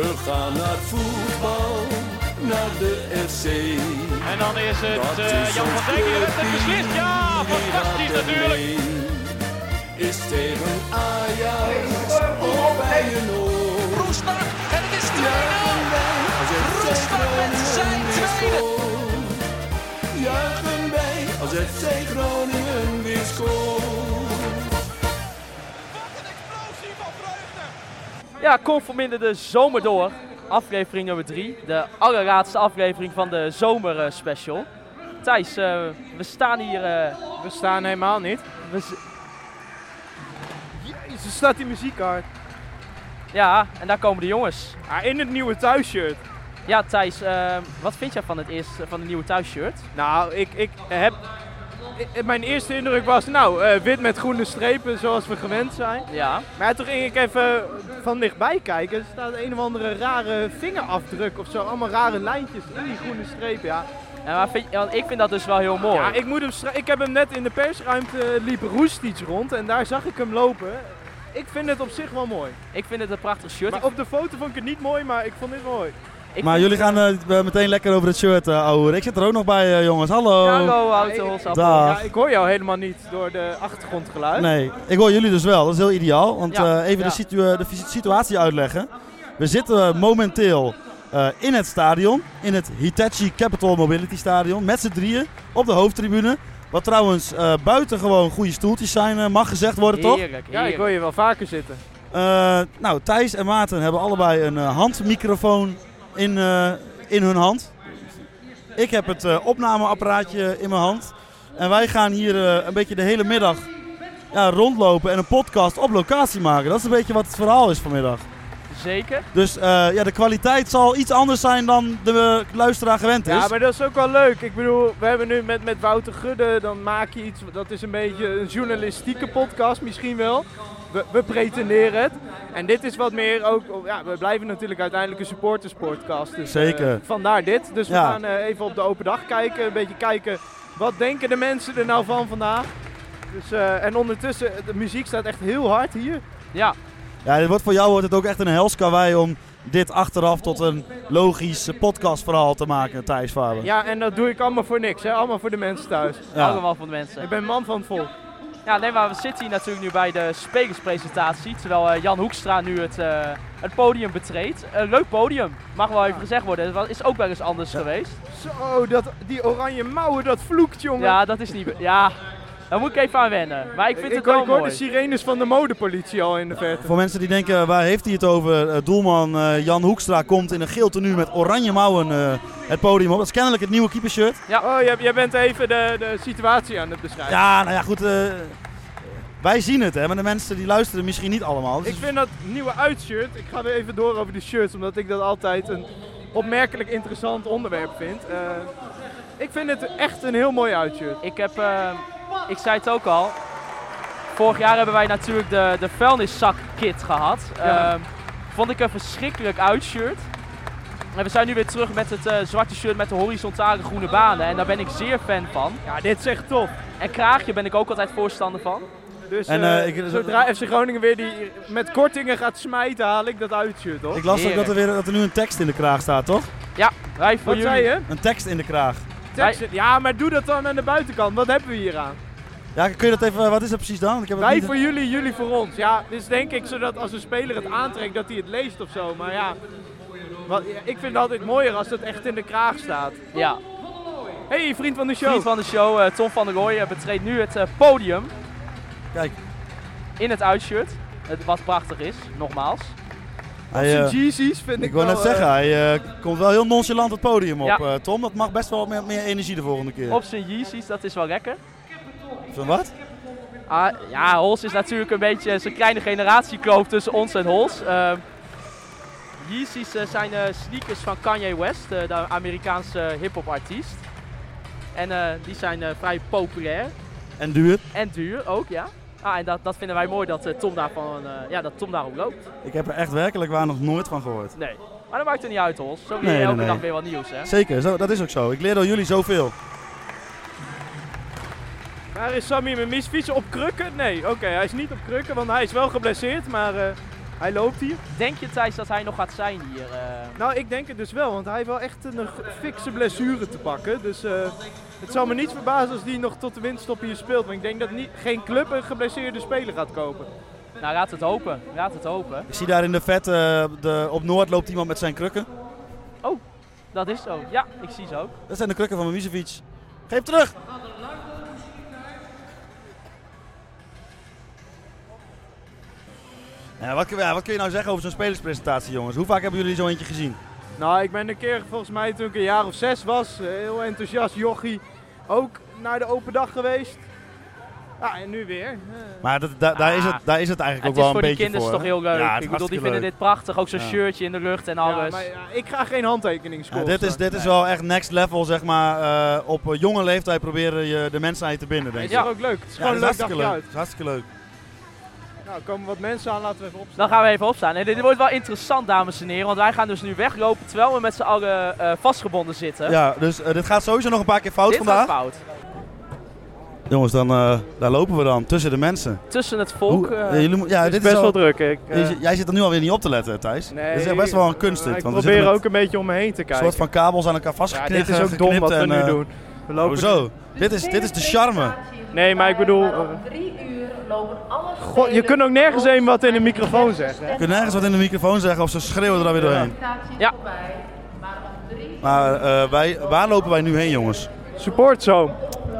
We gaan naar voetbal, naar de FC. En dan is het Dat eh, is Jan ons van Dijk die heeft het clubteam, beslist. Ja, die fantastisch gaat ermee. natuurlijk. Is tegen Ajax of bij een oor. Roesbach en het is 2-0. Juichen wij als FC Roestak met zijn Groningen tweede. scoort. Juichen wij als FC Groningen weer scoort. Ja, kom verminder de zomer door. Aflevering nummer 3. De allerlaatste aflevering van de zomerspecial. Thijs, eh, we staan hier. eh, We staan helemaal niet. we z- Jezus, staat die muziek hard. ja, en daar komen de jongens. Ah, in het nieuwe thuisshirt. Ja, Thijs, eh, wat vind jij van het eerste van de nieuwe thuisshirt? Nou, ik, ik heb... ik- mijn eerste indruk was, nou, eh, wit met groene strepen zoals we gewend zijn. Ja. Maar toen ging ik even van dichtbij kijken. Er staat een of andere rare vingerafdruk of zo. Allemaal rare lijntjes in die groene strepen, ja. En maar vind, want ik vind dat dus wel heel mooi. Ja, ik, moet hem stra- ik heb hem net in de persruimte, eh, liep Roestic rond en daar zag ik hem lopen. Ik vind het op zich wel mooi. Ik vind het een prachtig shirt. Maar op de foto vond ik het niet mooi, maar ik vond dit mooi. Ik Maar vind- jullie gaan eh, meteen lekker over het shirt, eh ouwe. Ik zit er ook nog bij, eh, jongens. Hallo. Hallo, houten holsappel. Dag. Ja, ik hoor jou helemaal niet door de achtergrondgeluid. Nee, ik hoor jullie dus wel. Dat is heel ideaal. Want Ja, eh, even ja. de, situ- eh, de fysi- situatie uitleggen. We zitten momenteel eh, in het stadion. In het Hitachi Capital Mobility Stadion. Met z'n drieën op de hoofdtribune. Wat trouwens eh buitengewoon goede stoeltjes zijn, eh, mag gezegd worden, toch? Heerlijk, Ja, ik heerlijk. hoor je wel vaker zitten. Eh, nou, Thijs en Maarten hebben allebei een eh, handmicrofoon in, eh, in hun hand. Ik heb het eh, opnameapparaatje in mijn hand. En wij gaan hier eh, een beetje de hele middag ja, rondlopen en een podcast op locatie maken. Dat is een beetje wat het verhaal is vanmiddag. Zeker. Dus eh, ja, de kwaliteit zal iets anders zijn dan de eh, luisteraar gewend is. Ja, maar dat is ook wel leuk. Ik bedoel, we hebben nu met, met Wouter Gudde, dan maak je iets, dat is een beetje een journalistieke podcast misschien wel. We, we pretenderen het. En dit is wat meer ook, oh, ja, we blijven natuurlijk uiteindelijk een supporterspodcast. Dus, eh, Zeker. vandaar dit. Dus we Ja. gaan eh, even op de open dag kijken, een beetje kijken, wat denken de mensen er nou van vandaag? Dus, eh, en ondertussen, de muziek staat echt heel hard hier. Ja, Ja, dit wordt voor jou wordt het ook echt een helskawei om dit achteraf tot een logisch eh, podcastverhaal te maken, Thijs Faber. Ja, en dat doe ik allemaal voor niks, hè? allemaal voor de mensen thuis. Ja. allemaal van de mensen. Ik ben man van het volk. Ja, nee, maar we zitten hier natuurlijk nu bij de spelerspresentatie. Terwijl eh, Jan Hoekstra nu het, eh, het podium betreedt. Een leuk podium, mag wel even gezegd worden. Het wa- is ook wel eens anders geweest. Zo, dat, die oranje mouwen, dat vloekt, jongen. Ja, dat is niet. be- Ja, daar moet ik even aan wennen. Maar ik vind ik, het hoor- wel ik hoor mooi. de sirenes van de modepolitie al in de verte. Voor mensen die denken, waar heeft hij het over? Eh, Doelman eh, Jan Hoekstra komt in een geel tenue met oranje mouwen eh, het podium op. Dat is kennelijk het nieuwe keepershirt. Oh, jij, jij bent even de, de situatie aan het beschrijven. Ja, nou ja, goed. eh, wij zien het, hè, maar de mensen die luisteren misschien niet allemaal. Dus Ik vind dat nieuwe uitshirt, ik ga weer even door over de shirts, omdat ik dat altijd een opmerkelijk interessant onderwerp vind. Eh, ik vind het echt een heel mooi uitshirt. Ik heb, eh, ik zei het ook al. Vorig jaar hebben wij natuurlijk de, de vuilniszakkit gehad. Ja. Ehm, vond ik een verschrikkelijk uitshirt. En we zijn nu weer terug met het eh, zwarte shirt met de horizontale groene banen. En daar ben ik zeer fan van. Ja, dit is echt top. En kraagje ben ik ook altijd voorstander van. Dus En, eh, eh, ik- zodra FC Groningen weer die met kortingen gaat smijten, haal ik dat uitshirt op. ik las ook dat er, weer, dat er nu een tekst in de kraag staat, toch? Ja, wij voor Wat jullie. zei je? Een tekst in de kraag. Tekst- Ja, maar doe dat dan aan de buitenkant. Wat hebben we hier aan? Ja, kun je dat even, wat is dat precies dan? Want Ik heb het Wij niet- voor jullie, jullie voor ons. Ja, dus denk ik zodat als een speler het aantrekt dat hij het leest of zo. Maar ja, wat, ja, ik vind het altijd mooier als dat echt in de kraag staat. Ja, hey, vriend van de show. vriend van de show, eh, Tom van der Rooij, eh, betreedt nu het eh, podium Kijk, in het uitshirt. Het, wat prachtig is, nogmaals. hij, eh, Zijn Jeezys vind ik ik wil wel, eh, net zeggen, hij eh, komt wel heel nonchalant het podium op, Ja. eh, Tom. Dat mag best wel wat meer, meer energie de volgende keer. Op zijn Yeezys, dat is wel lekker. Zo, wat? Ah, ja, Hols is natuurlijk een beetje zijn kleine generatiekloof tussen ons en Hols. Ehm Yeezys eh, zijn eh, sneakers van Kanye West, eh, de Amerikaanse eh, hip-hop artiest. En eh, die zijn eh, vrij populair. En duur. En duur ook, ja. Ah, en dat, dat vinden wij mooi dat, eh, Tom daarvan, eh ja, dat Tom daarom loopt. Ik heb er echt werkelijk waar nog nooit van gehoord. Nee. Maar dat maakt er niet uit, Hols. Zo leer je Nee, nee, elke nee. dag weer wat nieuws, hè. Zeker, zo, dat is ook zo. Ik leer door jullie zoveel. Waar is Sammy met misfietsen? Op krukken? Nee, oké, hij is niet op krukken, want hij is wel geblesseerd. Maar eh, Hij loopt hier. Denk je Thijs dat hij nog gaat zijn hier? eh? Nou, ik denk het dus wel, want hij heeft wel echt een g- fikse blessure te pakken. Dus eh, het zou me niet verbazen als die nog tot de winststop hier speelt. Want ik denk dat niet, geen club een geblesseerde speler gaat kopen. nou, laat het hopen. Laat het hopen. Ik zie daar in de vet, eh, de, op Noord loopt iemand met zijn krukken. Dat is zo. Ja, ik zie ze ook. Dat zijn de krukken van Mimicevic. Geef terug! Ja, wat, kun- ja, wat kun je nou zeggen over zo'n spelerspresentatie, jongens? Hoe vaak hebben jullie zo eentje gezien? Nou, ik ben een keer, volgens mij toen ik een jaar of zes was, eh, heel enthousiast jochie, ook naar de open dag geweest. Ja, en nu weer. Eh, Maar dat, da- daar, is het, daar is het Ah, Het eigenlijk is voor ook wel een die beetje kinderen voor. toch hè? heel leuk. Ja, het is ik bedoel, die hartstikke vinden leuk. dit prachtig. Ook zo'n Ja. shirtje in de lucht en ja, alles. maar, ja, ik ga geen handtekening Nou, dus- Ja, scoren. dit is, straks. dit is wel echt next level, zeg maar. eh, op eh, jonge leeftijd proberen je de mensheid te binden, denk Is ik. toch ook leuk? Het is Ja, gewoon dat is een leuk dagje hartstikke leuk. uit. Dat is hartstikke leuk. Nou, komen wat mensen aan, laten we even opstaan. Dan gaan we even opstaan. En dit wordt wel interessant, dames en heren. Want wij gaan dus nu weglopen terwijl we met z'n allen eh, vastgebonden zitten. Ja, dus eh, dit gaat sowieso nog een paar keer fout Dit vandaag. gaat fout. Jongens, dan, eh, daar lopen we dan, tussen de mensen. Tussen het volk. Hoe- eh, eh, jullie, mo- ja, het dit is is best al- wel druk. Ik, eh, Dus jij zit er nu alweer niet op te letten, Thijs. nee, dat is best wel een kunst dit. Ik want we probeer zitten met ook een beetje om me heen te een kijken. soort van kabels aan elkaar Ja, vastgeknipt. dit is ook dom geknipt wat we en, nu eh, doen. We lopen Hoezo? Dit is, dit is de charme. Nee, maar ik bedoel, eh, Om drie uur lopen alle God, je kunt ook nergens een wat in de microfoon zeggen. Je kunt nergens wat in de microfoon zeggen of ze schreeuwen er alweer doorheen. Ja. Ja. Voorbij, maar om drie Maar eh, wij, waar lopen wij nu heen, jongens? Support zo.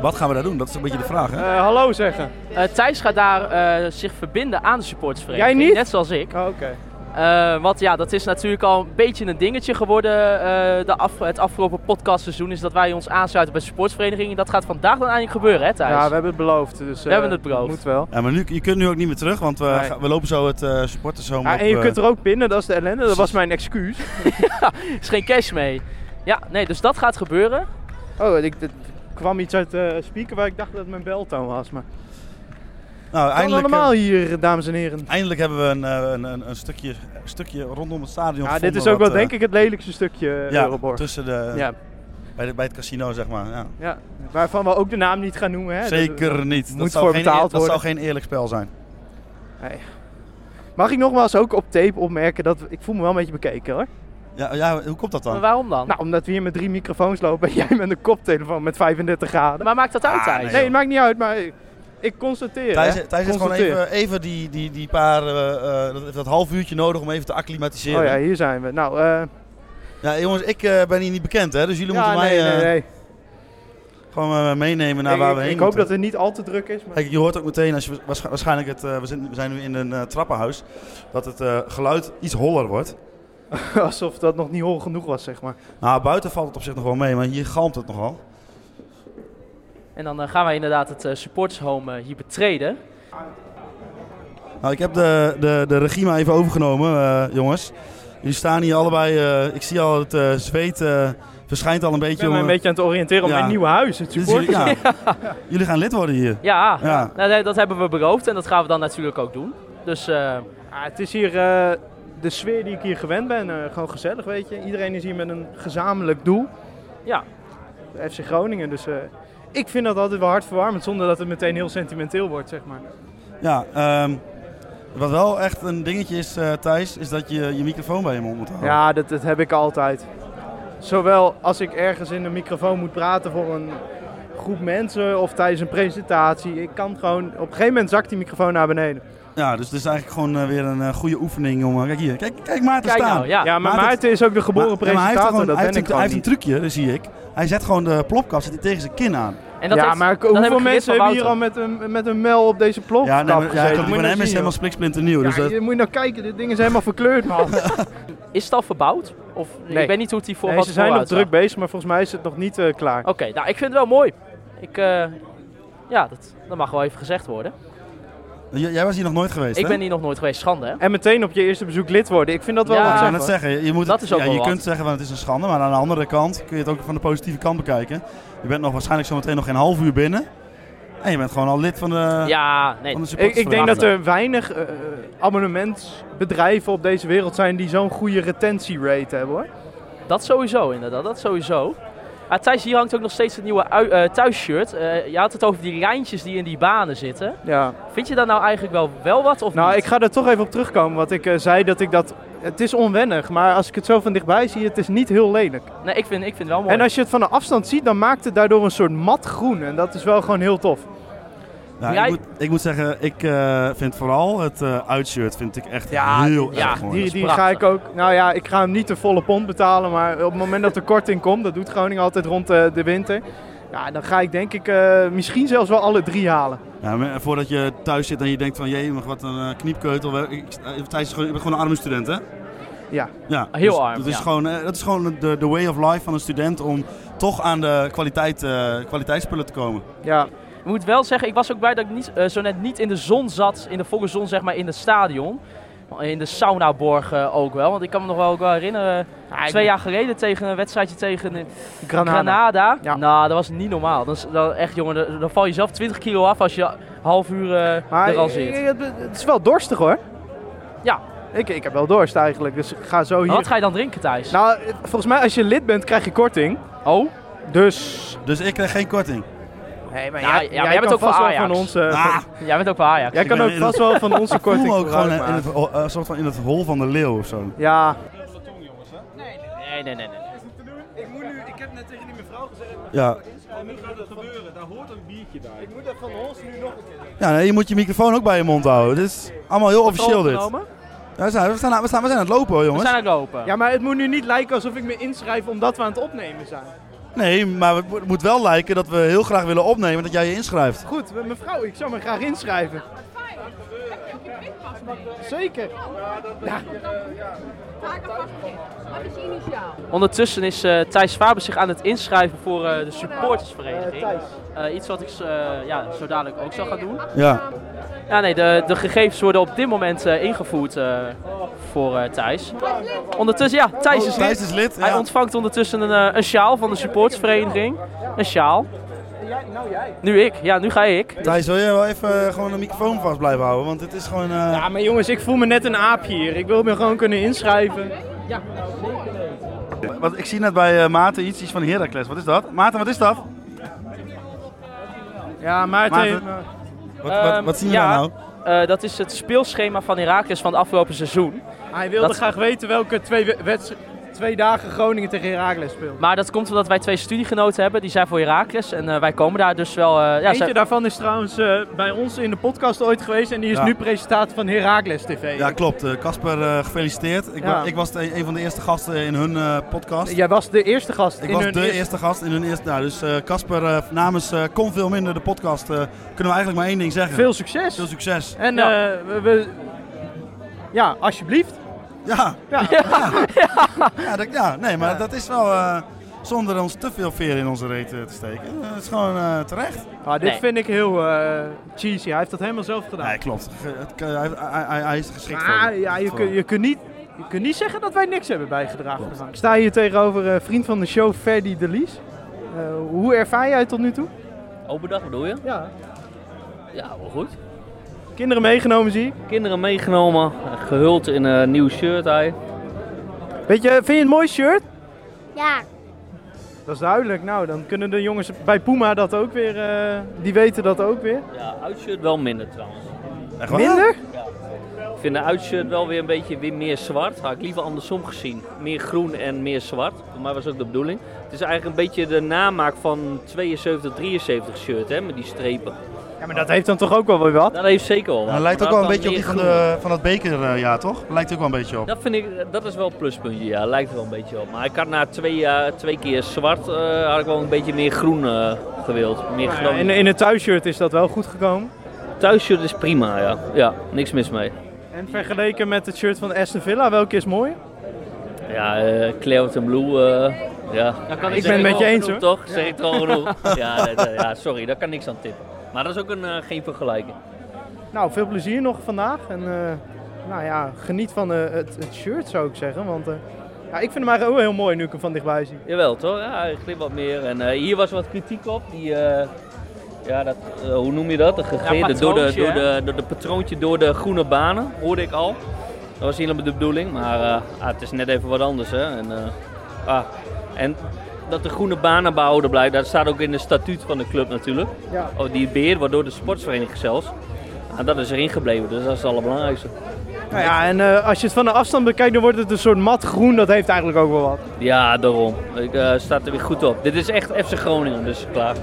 Wat gaan we daar doen? Dat is een beetje de vraag, hè? Eh, hallo zeggen. eh, Thijs gaat daar eh, zich verbinden aan de supportersvereniging. Jij niet? Net zoals ik. Oh, Oké. Eh, want ja, dat is natuurlijk al een beetje een dingetje geworden. eh, de af, het afgelopen podcastseizoen is dat wij ons aansluiten bij de supportersvereniging. En dat gaat vandaag dan eindelijk gebeuren, hè Thijs? Ja, we hebben het beloofd. Dus, eh, hebben het beloofd. Moet wel. Ja, maar nu, je kunt nu ook niet meer terug, want we, Nee. gaan- we lopen zo het eh supportershome Ja, op. en je eh, kunt er ook binnen, dat is de ellende. Dat was mijn excuus. Er is geen cash mee. Ja, nee, dus dat gaat gebeuren. Oh, ik, dit kwam iets uit de speaker waar ik dacht dat het mijn beltoon was. Maar nou, kan eindelijk, allemaal eh, hier, dames en heren. eindelijk hebben we een, eh, een, een, een stukje, een stukje rondom het stadion Ja, gevonden dit is ook wel wat, eh, denk ik het lelijkste stukje eh, ja, Euroborg. tussen de, Ja, bij, de, bij het casino, zeg maar. Ja. ja, waarvan we ook de naam niet gaan noemen. Hè? Dat- Zeker niet. moet dat zou voor geen, betaald dat zou worden. geen eerlijk spel zijn. Mag ik nogmaals ook op tape opmerken dat we- ik voel me wel een beetje bekeken hoor. Ja, ja, hoe komt dat dan? Maar waarom dan? Nou, omdat we hier met drie microfoons lopen en jij met een koptelefoon met 35 graden. maar maakt dat uit, Ah, Thijs? nee, nee, het maakt niet uit, maar ik, ik constateer. Thijs, hè. Thijs heeft gewoon Constateer. even, even die, die, die paar, eh, eh, dat, dat half uurtje nodig om even te acclimatiseren. Oh ja, ja. hier zijn we. Nou, eh jongens, ik eh, ben hier niet bekend, hè, dus jullie ja, moeten nee, mij eh, nee, nee. gewoon eh, meenemen naar ik, waar we ik- heen ik hoop moeten. dat het niet al te druk is. Maar... Kijk, je hoort ook meteen, als je waarsch- waarschijnlijk het, eh, we, zijn, we zijn nu in een eh, trappenhuis, dat het eh, geluid iets holler wordt. Alsof dat nog niet hol genoeg was, zeg maar. Nou, buiten valt het op zich nog wel mee, maar hier galmt het nogal. En dan eh, gaan wij inderdaad het eh, supportershome eh, hier betreden. Nou, ik heb de, de, de regie maar even overgenomen, eh, jongens. Jullie staan hier allebei, eh, ik zie al het eh, zweet eh, verschijnt al een Ik beetje. ben me een jongen. beetje aan het oriënteren op Ja. mijn nieuwe huis. Het Dit is support. jullie- ja. jullie gaan lid worden hier. Ja, Ja. Nou, nee, dat hebben we beloofd en dat gaan we dan natuurlijk ook doen. Dus eh, Ah, het is hier eh, de sfeer die ik hier gewend ben. eh, gewoon gezellig, weet je. Iedereen is hier met een gezamenlijk doel. Ja. De FC Groningen, dus... eh, ik vind dat altijd wel hartverwarmend, zonder dat het meteen heel sentimenteel wordt, zeg maar. Ja, ehm, wat wel echt een dingetje is, eh, Thijs, is dat je je microfoon bij je mond moet houden. Ja, dat, dat heb ik altijd. Zowel als ik ergens in de microfoon moet praten voor een groep mensen of tijdens een presentatie. Ik kan gewoon, op een gegeven moment zakt die microfoon naar beneden. Ja, dus het is eigenlijk gewoon eh, weer een eh, goede oefening om... eh, kijk hier, kijk, kijk Maarten kijk staan. nou, ja. Ja, maar Maarten- Maarten is ook de geboren Maar- ja, maar hij heeft, presentator, er gewoon, dat hij, heeft ben ik een, gewoon hij heeft een niet. trucje, dat zie ik. Hij zet gewoon de plopkap zet hij tegen zijn kin aan. en dat ja, heeft- maar dat heb hoeveel ik geleerd van mensen hebben hier al Wouter. met een, met een mel op deze plop Ja, nee, maar- ja, gezeten? klopt, die Moet je van nou hem is zien, helemaal joh. spliksplinternieuw. dus Ja, dat, je moet je nou kijken, dit ding is helemaal verkleurd, man. Is het al verbouwd? Of, Nee. Ik weet niet hoe het hier voor nee, wat ze zijn nog vooruit druk zag. bezig, maar volgens mij is het nog niet eh, klaar. Oh. Oké, nou ik vind het wel mooi. Ik, eh, ja, dat, dat mag wel even gezegd worden. J- jij was hier nog nooit geweest, Ik hè? ben hier nog nooit geweest, schande hè? En meteen op je eerste bezoek lid worden. Ik vind dat wel Ja. wat Ik zou zeggen. net zeggen, je, moet Dat het- is ook ja, wel je wat. kunt zeggen van het is een schande, maar aan de andere kant kun je het ook van de positieve kant bekijken. Je bent nog waarschijnlijk zometeen nog geen half uur binnen. En je bent gewoon al lid van de, Ja, nee. van de Ik, ik denk dat supportersvereniging. er weinig eh, abonnementsbedrijven op deze wereld zijn die zo'n goede retentierate hebben hoor. Dat sowieso inderdaad, dat sowieso. Maar Thijs, hier hangt ook nog steeds het nieuwe ui- eh, thuisshirt. Eh, je had het over die lijntjes die in die banen zitten. Ja. Vind je daar nou eigenlijk wel, wel wat of Nou, niet? ik ga er toch even op terugkomen. Wat ik eh, zei, dat ik dat... Het is onwennig, maar als ik het zo van dichtbij zie, het is niet heel lelijk. Nee, ik vind, ik vind het wel mooi. En als je het van een afstand ziet, dan maakt het daardoor een soort mat groen. En dat is wel gewoon heel tof. Ja, Jij- Nou, ik, moet, ik moet zeggen, ik eh, vind vooral het eh uitshirt vind ik echt Ja, heel ja, erg mooi. Die, is die ga ik prachtig. ook... Nou ja, ik ga hem niet de volle pond betalen, maar op het moment dat er korting komt... Dat doet Groningen altijd rond eh, de winter. Ja, dan ga ik denk ik eh, misschien zelfs wel alle drie halen. Ja, maar voordat je thuis zit en je denkt van, jee, maar wat een eh, kniepkeutel. Ik- ik- eh, Thijs, is gewoon- je bent gewoon een arme student, hè? Ja. Ja, Heel dus arm, Dat is ja. gewoon, eh, dat is gewoon de, de way of life van een student om toch aan de kwaliteit, eh, kwaliteitsspullen te komen. Ja, Ik moet wel zeggen, ik was ook blij dat ik niet, eh, zo net niet in de zon zat, in de volle zon zeg maar, in het stadion. In de saunaborg eh, ook wel, want ik kan me nog wel ook wel herinneren, twee jaar geleden tegen een wedstrijdje tegen eh, Granada. Granada. Ja. Nou, dat was niet normaal. Dat is, dat, echt jongen, dan, dan val je zelf 20 kilo af als je half uur eh Maar er al eh, zit. eh, het- het is wel dorstig hoor. Ja. Ik, ik heb wel dorst eigenlijk, dus ik ga zo hier... Maar wat ga je dan drinken Thijs? Nou, eh, volgens mij als je lid bent krijg je korting. oh? Dus... Dus ik krijg geen korting. Nee, maar Ja, jij- ja, maar jij jij bent kan ook voor vast wel Ajax. Van onze, Ah, Jij bent ook wel Ajax. jij kan ben ook in vast wel van onze ik voel korting me ook gewoon gebruik eh, in het, maken. ho- eh, soort van in het hol van de leeuw of zo. Ja, Nee, nee, nee. nee. Ik moet nu, ik heb net tegen die mevrouw gezegd, eh, Ja, nu gaat het gebeuren, daar hoort een biertje bij. Ik moet dat van ons nu nog een keer. ja nee, je moet je microfoon ook bij je mond houden. Dit is allemaal heel officieel dit. Ja, Opgenomen? we, zijn, we, staan, we, staan, we zijn aan het lopen hoor, We jongens. zijn aan het lopen. Ja, maar het moet nu niet lijken alsof ik me inschrijf omdat we aan het opnemen zijn. Nee, maar het moet- het moet wel lijken dat we heel graag willen opnemen dat jij je inschrijft. Goed, me- mevrouw, ik zou me graag inschrijven. Zeker. Wat is je initiaal? Ondertussen is eh, Thijs Faber zich aan het inschrijven voor eh, de supportersvereniging. Eh, iets wat ik eh, ja, zo dadelijk ook zou gaan doen. Ja. Ja, nee, de, de gegevens worden op dit moment eh, ingevoerd eh, voor eh, Thijs. Ondertussen, ja, Thijs is Oh, Thijs lid. is lid. Hij ja. ontvangt ondertussen een, eh, een sjaal van de supportersvereniging. Een sjaal. nou jij. Nu ik. Ja, nu ga ik. Thijs, wil je wel even eh, gewoon de microfoon vast blijven houden? Want het is gewoon... eh, Ja, maar jongens, ik voel me net een aap hier. Ik wil me gewoon kunnen inschrijven. Wat, ik zie net bij eh, Maarten iets, iets van Heracles. Wat is dat? Maarten, wat is dat? Ja, Maarten. Maarten. eh, Wat, wat, Ehm, wat zien we ja, daar nou? eh, dat is het speelschema van Herakles van het afgelopen seizoen. hij wilde Dat- graag weten welke twee, we- wedst- twee dagen Groningen tegen Heracles speelt. Maar dat komt omdat wij twee studiegenoten hebben. Die zijn voor Herakles. En eh, wij komen daar dus wel... eh, ja, Eentje zij- daarvan is trouwens eh, bij ons in de podcast ooit geweest en die is Ja. nu presentator van Heracles TV. Ja, klopt. Eh, Casper, eh, gefeliciteerd. Ik, Ja. ben, ik was de- een van de eerste gasten in hun eh, podcast. Jij was de eerste gast ik in was de hun eerste- eerste gast in hun eerste... Nou, dus eh, Casper, eh, namens eh Kon Veel Minder, de podcast, eh, kunnen we eigenlijk maar één ding zeggen. Veel succes! Veel succes. En Ja. eh, we, we- Ja, alsjeblieft. Ja. Ja. Ja. Ja, dat, ja, nee, maar dat is wel... eh, zonder ons te veel veer in onze reet eh, te steken. Eh, Het is gewoon eh, terecht. Ah, dit Nee. vind ik heel eh, cheesy. Hij heeft dat helemaal zelf gedaan. Nee, klopt. Ge- het- eh, hij, hij- hij- hij is er geschikt Ah, voor. ja, je, Voor. kun, je, kunt niet, je kunt niet zeggen dat wij niks hebben bijgedragen. vandaag. Ik sta hier tegenover eh, vriend van de show, Ferdy de Lies. Eh, hoe ervaar jij het tot nu toe? Opendag bedoel je? Ja. Ja, wel goed. Kinderen meegenomen zie ik. Kinderen meegenomen, gehuld in een nieuw shirt. Hij. Weet je, vind je het mooi shirt? Ja, Dat is duidelijk. Nou, dan kunnen de jongens bij Puma dat ook weer, eh, die weten dat ook weer. Ja, uitshirt wel minder trouwens. Echt waar? Minder? Ik vind de uitshirt wel weer een beetje weer meer zwart. Had ik liever andersom gezien. Meer groen en meer zwart. Voor mij was ook de bedoeling. Het is eigenlijk een beetje de namaak van 72, 73 shirt hè, met die strepen. Ja, maar dat heeft dan toch ook wel weer wat? Dat heeft zeker wel wat. Ja, dat lijkt ook Maar wel een dat beetje op dan die van, meer groen. de, van dat bekerjaar, toch? Dat lijkt ook wel een beetje op. Dat vind ik, dat is wel een pluspuntje, ja. Lijkt er wel een beetje op. Maar ik had na twee, jaar- twee keer zwart, eh, had ik wel een beetje meer groen eh, gewild. Meer groen. In, in het thuisshirt is dat wel goed gekomen. Thuisshirt is prima, ja. Ja, niks mis mee. En vergeleken met het shirt van Aston Villa, welke is mooier? Ja, eh Cloud en Blue, eh, ja. ik ben het met je eens, Genoeg, Toch? Zeg ik het al genoeg? ja, dat- dat- ja, sorry, daar kan niks aan tippen. Maar dat is ook een, eh, geen vergelijking. Nou, veel plezier nog vandaag. En eh, nou ja, geniet van eh, het, het shirt zou ik zeggen. Want eh, ja, ik vind hem eigenlijk ook heel mooi nu ik hem van dichtbij zie. Jawel, toch? Ja, hij glimt wat meer. En eh, hier was wat kritiek op. Die, eh, ja, dat, eh, hoe noem je dat? De gegeven door, de, patroontje, door, hè? de, door de patroontje door de groene banen, hoorde ik al. Dat was helemaal de bedoeling, maar eh, ah, het is net even wat anders. Hè? En, eh, ah, en dat de groene banen behouden blijven. Dat staat ook in de statuut van de club natuurlijk. Ja. Of die beheer, waardoor de sportsvereniging zelfs. En dat is erin gebleven, dus dat is het allerbelangrijkste. Nou ja, en eh, als je het van de afstand bekijkt, dan wordt het een soort mat groen. Dat heeft eigenlijk ook wel wat. Ja, daarom. Ik eh, staat er weer goed op. Dit is echt FC Groningen, dus klaar.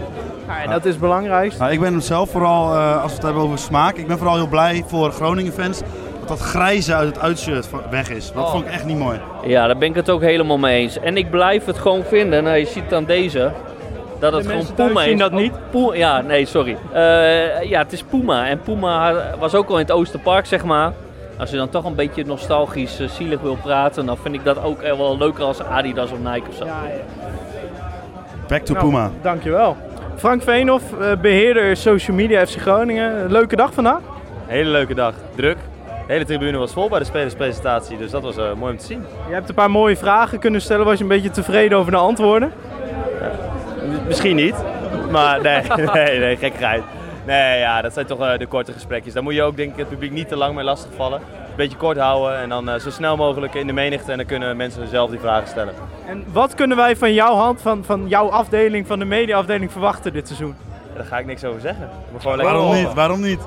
Ja, en dat is het belangrijkste. Nou, ik ben zelf vooral, eh, als we het hebben over smaak, ik ben vooral heel blij voor Groningen-fans dat dat grijze uit het uitshirt van- weg is. Oh. Dat vond ik echt niet mooi. Ja, daar ben ik het ook helemaal mee eens. En ik blijf het gewoon vinden. Nou, je ziet aan deze dat het gewoon mensen thuis Puma is. zien dat niet. Oh, Pu- ja, nee, sorry. Eh, ja, het is Puma. En Puma was ook al in het Oosterpark, zeg maar. Als je dan toch een beetje nostalgisch, eh, zielig wil praten, dan vind ik dat ook eh, wel leuker als Adidas of Nike of zo. Ja, ja. Back to Nou, Puma. Dankjewel. Frank Veenhoff, eh, beheerder social media FC Groningen. Leuke dag vandaag. Hele leuke dag. Druk. De hele tribune was vol bij de spelerspresentatie, dus dat was eh, mooi om te zien. Je hebt een paar mooie vragen kunnen stellen. Was je een beetje tevreden over de antwoorden? M- misschien niet, maar nee, nee, nee, gekkigheid. Nee, ja, dat zijn toch eh, de korte gesprekjes. Daar moet je ook denk ik het publiek niet te lang mee lastigvallen. Een beetje kort houden en dan eh, zo snel mogelijk in de menigte en dan kunnen mensen zelf die vragen stellen. En wat kunnen wij van jouw hand, van, van jouw afdeling, van de mediaafdeling verwachten dit seizoen? Ja, daar ga ik niks over zeggen. Ik moet gewoon lekker Waarom horen. niet? Waarom niet?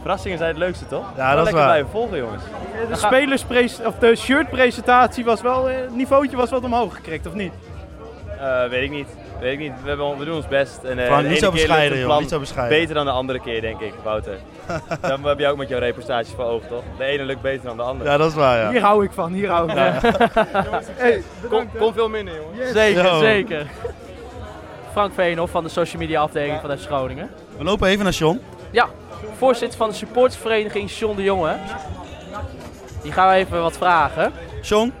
Verrassingen zijn het leukste, toch? Gewoon dat is lekker waar. blijven volgen, jongens. De, spelers of de shirtpresentatie was wel, eh, het niveautje was wat omhoog gekregen, of niet? Eh, weet ik niet. Weet ik niet. We, hebben, on- we doen ons best. En, eh, Frank, de niet ene zo keer lukt bescheiden, een joh, plan niet zo bescheiden. Beter dan de andere keer, denk ik, Wouter. Dan heb je ook met jouw reportages voor ogen, toch? De ene lukt beter dan de andere. Ja, dat is waar, ja. Hier hou ik van, hier hou ik van. Hey, kom, kom veel minder, jongen. Zeker, Yo. zeker. Frank Veenhoff van de social media afdeling van FC Groningen. We lopen even naar John. Ja, voorzitter van de supportvereniging John de Jonge. Die gaan we even wat vragen. John,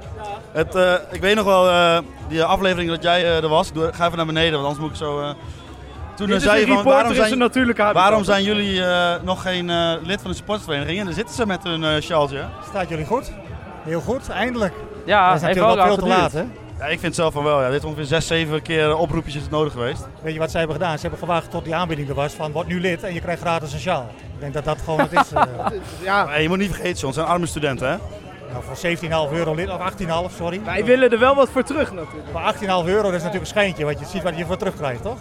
het, eh, ik weet nog wel, eh, die aflevering dat jij eh, er was. Doe- ga even naar beneden, want anders moet ik zo... eh, Toen eh, dit is zei een je van, waarom reporter in zijn zijn, natuurlijke habitat. waarom zijn jullie eh, nog geen eh, lid van de sportvereniging? En daar zitten ze met hun eh sjaaltje. Staat jullie goed? Heel goed, eindelijk. Ja, dat is natuurlijk wel veel te laat, hè? Ja, ik vind zelf van wel, ja. Dit is ongeveer zes, zeven keer eh, oproepjes is het nodig geweest. Weet je wat zij hebben gedaan? Ze hebben gewacht tot die aanbieding er was van word nu lid en je krijgt gratis een sjaal. Ik denk dat dat gewoon het is. eh. Maar, eh, je moet niet vergeten, John, het zijn arme studenten, hè? nou, voor 17,5 euro lid, of 18,5, sorry. Wij willen er wel wat voor terug natuurlijk. Maar 18,5 euro dat is natuurlijk een schijntje, want je ziet wat je voor terugkrijgt, toch?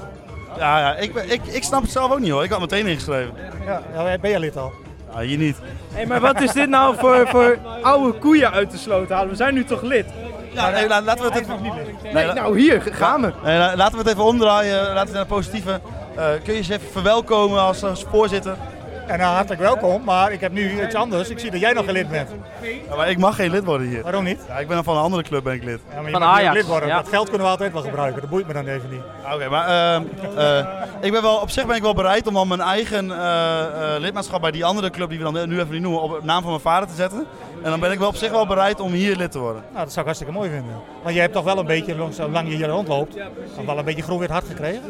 Ja, ja ik, ben- ik, ik snap het zelf ook niet hoor. Ik had meteen ingeschreven. Ja, ja eh, ben je lid al? Ja, hier niet. Hey, maar wat is dit nou voor, voor oude koeien uit de sloot halen? We zijn nu toch lid? Ja, nee, la- laten we het even... Nee, la- Nou, hier, g- gaan we. nee, la- laten we het even omdraaien. Laten we het naar het positieve. Eh, kun je eens even verwelkomen als, als voorzitter? En nou, hartelijk welkom, maar ik heb nu iets anders. Ik zie dat jij nog geen lid bent. Ja, maar ik mag geen lid worden hier. Waarom niet? Ja, ik ben dan van een andere club ben ik lid. Ja, maar je Van mag niet Ajax, lid worden. ja. Dat geld kunnen we altijd wel gebruiken, dat boeit me dan even niet. Ja, Oké, maar ehm, eh, ik ben wel, op zich ben ik wel bereid om dan mijn eigen eh, eh, lidmaatschap bij die andere club die we dan nu even niet noemen op het naam van mijn vader te zetten. En dan ben ik wel op zich wel bereid om hier lid te worden. Nou, dat zou ik hartstikke mooi vinden. Want je hebt toch wel een beetje, lang- zolang je hier rondloopt, toch wel een beetje groen-wit hart gekregen.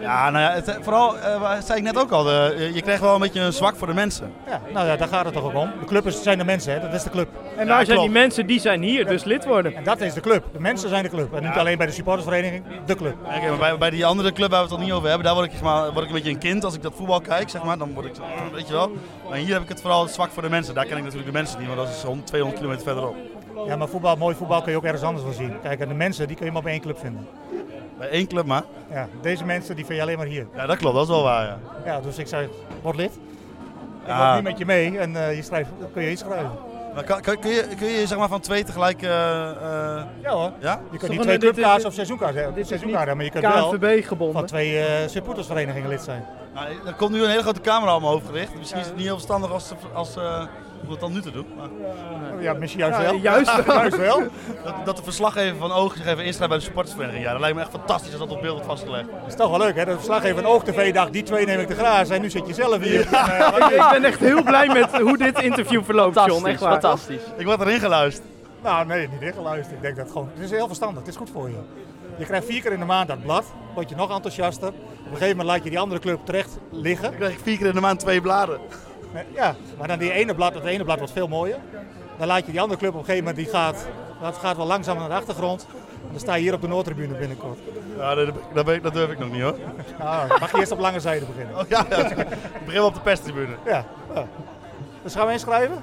Ja, nou ja, het, vooral, eh, wat- zei ik net ook al, de- eh, je- je krijgt wel een beetje een zwak voor de mensen. Ja, nou ja, daar gaat het toch ook om. De club is, zijn de mensen, hè? dat is de club. En daar zijn die klopt. mensen, die zijn hier, dus lid worden. En dat is de club. De mensen zijn de club. En niet alleen bij de supportersvereniging, de club. Oké, maar bij, bij die andere club waar we het al niet over hebben, daar word ik, zeg maar, word ik een beetje een kind als ik dat voetbal kijk, zeg maar. Dan word ik, zo, "Ah," weet je wel. Maar hier heb ik het vooral zwak voor de mensen. Daar ken ik natuurlijk de mensen niet, want dat is 100, 200 kilometer verderop. Ja, maar voetbal, mooi voetbal kun je ook ergens anders wel zien. Kijk, en de mensen, die kun je maar bij één club vinden. Bij één club maar. Ja, deze mensen, die vind je alleen maar hier. Ja, dat klopt, dat is wel waar, ja. Ja, dus ik zei, word lid. Ik Ja. Ah. loop nu met je mee en eh, je schrijft, kun je iets schrijven. Maar kan, kan- kun, je, kun je zeg maar van twee tegelijk... eh, eh, Ja hoor. ja? Je kunt Zo niet van, twee dit is- clubkaarten of seizoenkaarten hebben. Dit is niet Seizoenkaarten, hebben, maar je kunt wel KNVB van gebonden. twee eh, supportersverenigingen lid zijn. Nou, er komt nu een hele grote camera op mijn hoofd gericht. Misschien is het niet heel verstandig als, ze- als, eh, om het dan nu te doen. Maar Oh, Ja, misschien juist Ja, wel. juist wel. juist wel. dat, dat de verslaggever van Oog zich even inschrijft bij de supportersvereniging. Ja, dat lijkt me echt fantastisch als dat op beeld wordt vastgelegd. Dat is toch wel leuk hè, dat verslaggever van Oog TV dacht, die twee neem ik te grazen en nu zit je zelf hier. Eh, Ik, ik ben echt heel blij met hoe dit interview verloopt, John. Fantastisch, Echt waar. fantastisch. Ik word erin geluisterd. Nou, nee, niet ingeluisterd. Ik denk dat gewoon. Het is heel verstandig. Het is goed voor je. Je krijgt vier keer in de maand dat blad. Word je nog enthousiaster. Op een gegeven moment laat je die andere club terecht liggen. Eh, Dan krijg ik vier keer in de maand twee bladen. Ja, maar dan die ene blad, dat ene blad wordt veel mooier. Dan laat je die andere club op een gegeven moment, die gaat, dat gaat wel langzaam naar de achtergrond. En dan sta je hier op de Noordtribune binnenkort. Ja, dat, dat, weet ik- dat durf ik nog niet hoor. Nou, mag je eerst op lange zijde beginnen. Oh, ja, ja. Ik begin wel op de perstribune. Ja, ja. Dus gaan we inschrijven?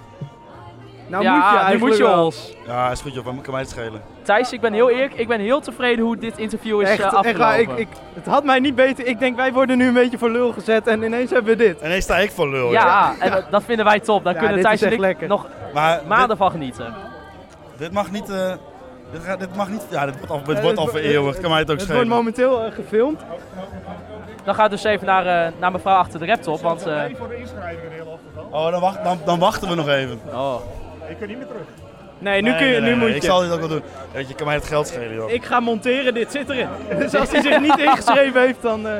Nou ja, moet je nu eigenlijk moet je wel. ons. Ja, is goed joh, wat kan mij het schelen? Thijs, ik ben heel eerlijk, ik ben heel tevreden hoe dit interview is Echt, eh, echt afgelopen. waar, ik, ik, het had mij niet beter. Ik denk, wij worden nu een beetje voor lul gezet en ineens hebben we dit. Ineens sta ik voor lul. ja, en dat- dat vinden wij top. Daar Ja, kunnen dit Thijs is en ik echt lekker. nog Maar maanden dit, van genieten. dit mag niet... eh, dit, gaat- dit mag niet... Ja, dit wordt al, dit Eh, wordt het al wo- vereeuwigd. Kan mij het ook Het wordt schelen. momenteel eh, gefilmd. Dan gaat dus even naar, eh, naar mevrouw achter de laptop, want... eh, voor de inschrijving de hele ochtend al. Oh, dan, wacht, dan, dan wachten we nog even. oh. Ik kan niet meer terug. Nee, nu, kun je, Nee, nee, nu nee, moet Ik je. zal dit ook wel doen. Weet je, kan mij het geld schelen joh. Ik ga monteren, dit zit erin. Dus als hij zich niet ingeschreven heeft, dan... eh,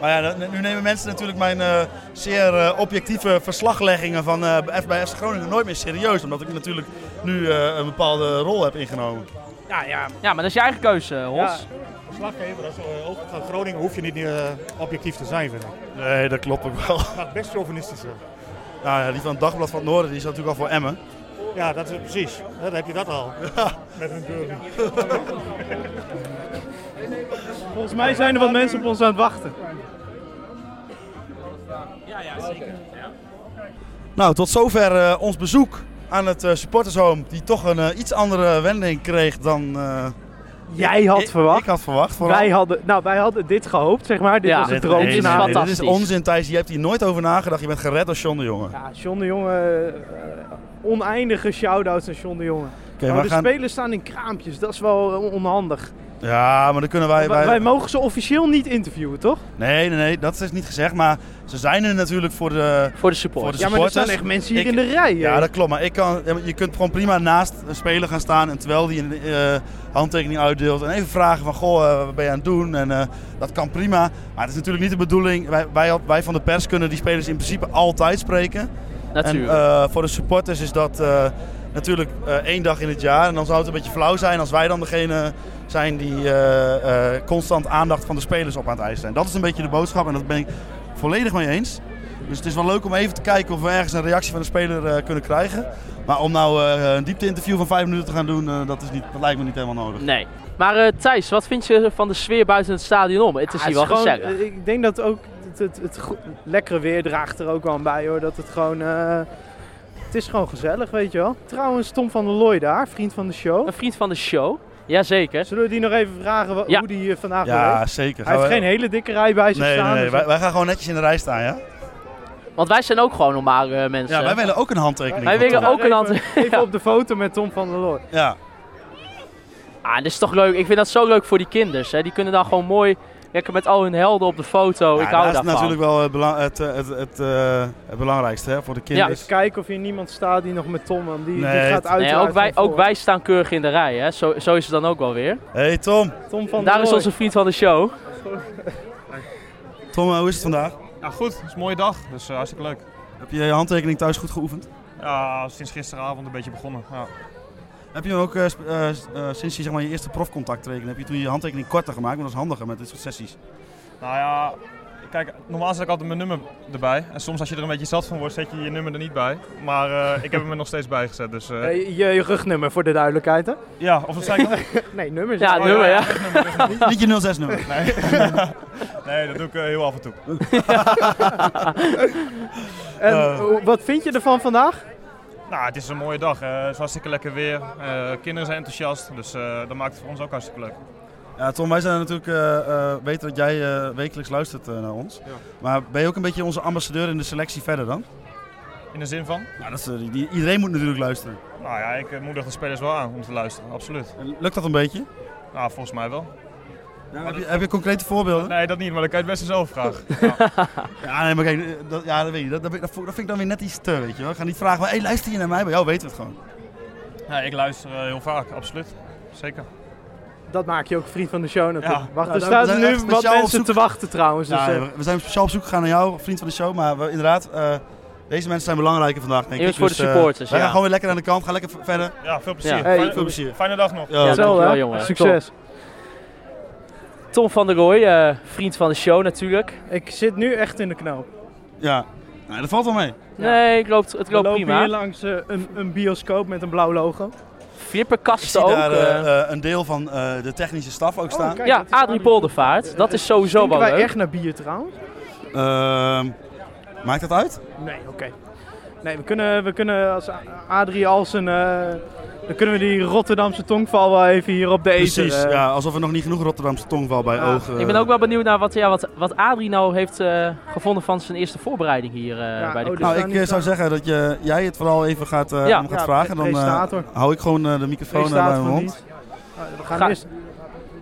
Maar ja, dan- nu nemen mensen natuurlijk mijn eh, zeer eh, objectieve verslagleggingen van eh F bij FC Groningen nooit meer serieus. Omdat ik natuurlijk nu eh, een bepaalde rol heb ingenomen. ja, ja. Ja, maar dat is je eigen keuze, eh, Hos. Verslaggever, als eh, over gaat Groningen hoef je niet eh, objectief te zijn, vind ik. Nee, dat klopt ook wel. Het mag best chauvinistisch zijn. Nou ja, die van het Dagblad van het Noorden die is natuurlijk al voor Emmen. Ja, dat is precies. Ja, Dan heb je dat al. Met een derby. Volgens mij zijn er wat mensen op ons aan het wachten. Nou, tot zover eh, ons bezoek aan het eh, supportershome. Die toch een eh, iets andere wending kreeg dan eh, Jij ik, ik had verwacht. Vooral. Wij hadden, nou, wij hadden dit gehoopt, zeg maar. Dit Ja. was Dit- het droom. nee, nee, nee, droomscenario. dit is onzin Thijs. Je hebt hier nooit over nagedacht. Je bent gered als John de Jonge. Ja, John de Jonge... eh, oneindige shout-outs aan John de Jonge. Oké, Maar maar de gaan... spelers staan in kraampjes, dat is wel eh, onhandig. Ja, maar dan kunnen wij... Wij, wij... wij mogen ze officieel niet interviewen, toch? Nee, nee, nee, dat is niet gezegd. Maar ze zijn er natuurlijk voor de... Voor de support. Voor de Ja, maar er supporters. staan echt mensen hier Ik- in de rij. Ja, eh. dat klopt. Maar ik kan, ja, maar je kunt gewoon prima naast een speler gaan staan en terwijl die een eh, handtekening uitdeelt en even vragen van goh, eh, wat ben je aan het doen? En eh, dat kan prima. Maar het is natuurlijk niet de bedoeling. Wij, wij, wij van de pers kunnen die spelers in principe altijd spreken. Natuurlijk. En eh, voor de supporters is dat eh, natuurlijk eh, één dag in het jaar. En dan zou het een beetje flauw zijn als wij dan degene zijn die eh, eh, constant aandacht van de spelers op aan het eisen zijn. Dat is een beetje de boodschap en dat ben ik volledig mee eens. Dus het is wel leuk om even te kijken of we ergens een reactie van de speler eh, kunnen krijgen. Maar om nou eh, een diepte-interview van vijf minuten te gaan doen, eh, dat, is niet, dat lijkt me niet helemaal nodig. Nee. Maar eh, Thijs, wat vind je van de sfeer buiten het stadion om? Het is Ja, hier wel gewoon- gezellig. eh, Ik denk dat ook het, het, het go- lekkere weer draagt er ook wel aan bij hoor. Dat het gewoon. eh, het is gewoon gezellig, weet je wel. Trouwens, Tom van der Looy daar, vriend van de show. Een vriend van de show. Jazeker. Zullen we die nog even vragen wa- Ja. hoe die eh, vandaag weer Ja, heeft? zeker. Hij heeft Gaan geen we- hele dikke rij bij zich Nee, nee, staan. nee. dus- Wij, wij gaan gewoon netjes in de rij staan, ja? Want wij zijn ook gewoon normale eh, mensen. Ja, wij willen ook een handtekening. Wij van willen Tom. ook een hand. Even, even op de foto met Tom van der Looy. Ja. Ah, dit is toch leuk. Ik vind dat zo leuk voor die kinders. Hè. Die kunnen dan gewoon mooi lekker met al hun helden op de foto. Ja, Oh, ik hou dat is daarvan. natuurlijk wel het, belang- het, eh, het, het, eh, het belangrijkste hè, voor de kinderen. Dus kijk of hier niemand staat die nog met Tom, want die, Nee, die het- gaat uit. Nee, ook, wij, ook wij staan keurig in de rij. Hè. Zo, zo is het dan ook wel weer. Hey Tom, Tom van der Daar is Looy. onze vriend van de show. Tom, eh, hoe is het vandaag? Ja, goed. Het is een mooie dag, dus eh, hartstikke leuk. Heb je je handtekening thuis goed geoefend? Ja, sinds gisteravond een beetje begonnen. Ja. Heb je hem ook eh, sp- eh, s- eh, sinds je zeg maar, je eerste profcontact tekende, heb je toen je handtekening korter gemaakt? Want dat is handiger met dit soort sessies. Nou ja, kijk, normaal zet ik altijd mijn nummer erbij. En soms als je er een beetje zat van wordt, zet je je nummer er niet bij. Maar eh, ik heb hem er nog steeds bij gezet, dus... eh, Eh, je, je rugnummer voor de duidelijkheid, hè? ja, of dat zei ik nog? Nee, nummer is Ja, Oh, nummer, ja. Niet- Niet je 06 nummer. Nee. nee, dat doe ik eh, heel af en toe. En Oh. hoe- wat vind je ervan vandaag? Nou, het is een mooie dag. eh, het is hartstikke lekker weer. Eh, kinderen zijn enthousiast, dus eh, dat maakt het voor ons ook hartstikke leuk. Ja, Tom, wij zijn natuurlijk eh, eh, weten dat jij eh, wekelijks luistert eh, naar ons. Maar ben je ook een beetje onze ambassadeur in de selectie verder dan? In de zin van? Ja, dat is, eh, die, iedereen moet natuurlijk luisteren. Nou ja, ik eh, moedig de spelers wel aan om te luisteren, absoluut. En Lukt dat een beetje? Nou, volgens mij wel. heb, je, heb je concrete voorbeelden? Nee, dat niet, maar dat kan je het best zelf vragen. Ja, nee, maar kijk, eh, dat, ja, dat weet je. Dat, dat, dat vind ik dan weer net iets te, weet je wel. Ik ga niet vragen, hé, hey, luister je naar mij? Bij jou weten we het gewoon. Ja, ik luister eh, heel vaak, absoluut. Zeker. Dat maak je ook vriend van de show natuurlijk. Ja. Wacht, Ja, er daar- we staan zijn nu echt wat speciaal op mensen zoek. te wachten trouwens. Dus, Ja, eh, we zijn speciaal op zoek gegaan naar jou, vriend van de show. Maar we, inderdaad, eh, deze mensen zijn belangrijker vandaag, denk ik. Eerst voor de eh, supporters, ja. Wij gaan gewoon weer lekker aan de kant, ga lekker v- verder. Ja, veel plezier. Ja. Hey, Fijne- Veel plezier. Fijne dag nog. Ja, dankjewel, hetzelfde, hè? jongen. Succes. Tom van der Rooij, eh, vriend van de show natuurlijk. Ik zit nu echt in de knoop. ja. Nee, dat valt wel mee. Nee, het loopt, het We loopt lopen hier prima. langs eh, een, een bioscoop met een blauw logo. Ik Flipperkasten zie ook. daar eh. eh, eh, een deel van eh, de technische staf ook staan. Oh, kijk, ja, dat is Adrie Poldervaart. Dat is sowieso Stinken wel eh, wij leuk. echt naar bier trouwens? Ehm, maakt dat uit? Nee, oké. Nee, we kunnen, we kunnen als A- Adrie Alsen, eh, dan kunnen we die Rotterdamse tongval wel even hier op de ether. Precies, eh. ja, alsof er nog niet genoeg Rotterdamse tongval bij Ja. ogen. Ik ben ook wel benieuwd naar wat, ja, wat, wat Adrie nou heeft eh, gevonden van zijn eerste voorbereiding hier eh, bij oh, de club. Nou, ik eh, zou zeggen dat je, jij het vooral even gaat, eh, Ja. om gaat Ja, vragen. Dan eh, presentator. hou ik gewoon eh, de microfoon eh, bij Presentator van mijn mond. Eh, We gaan Ga- eerst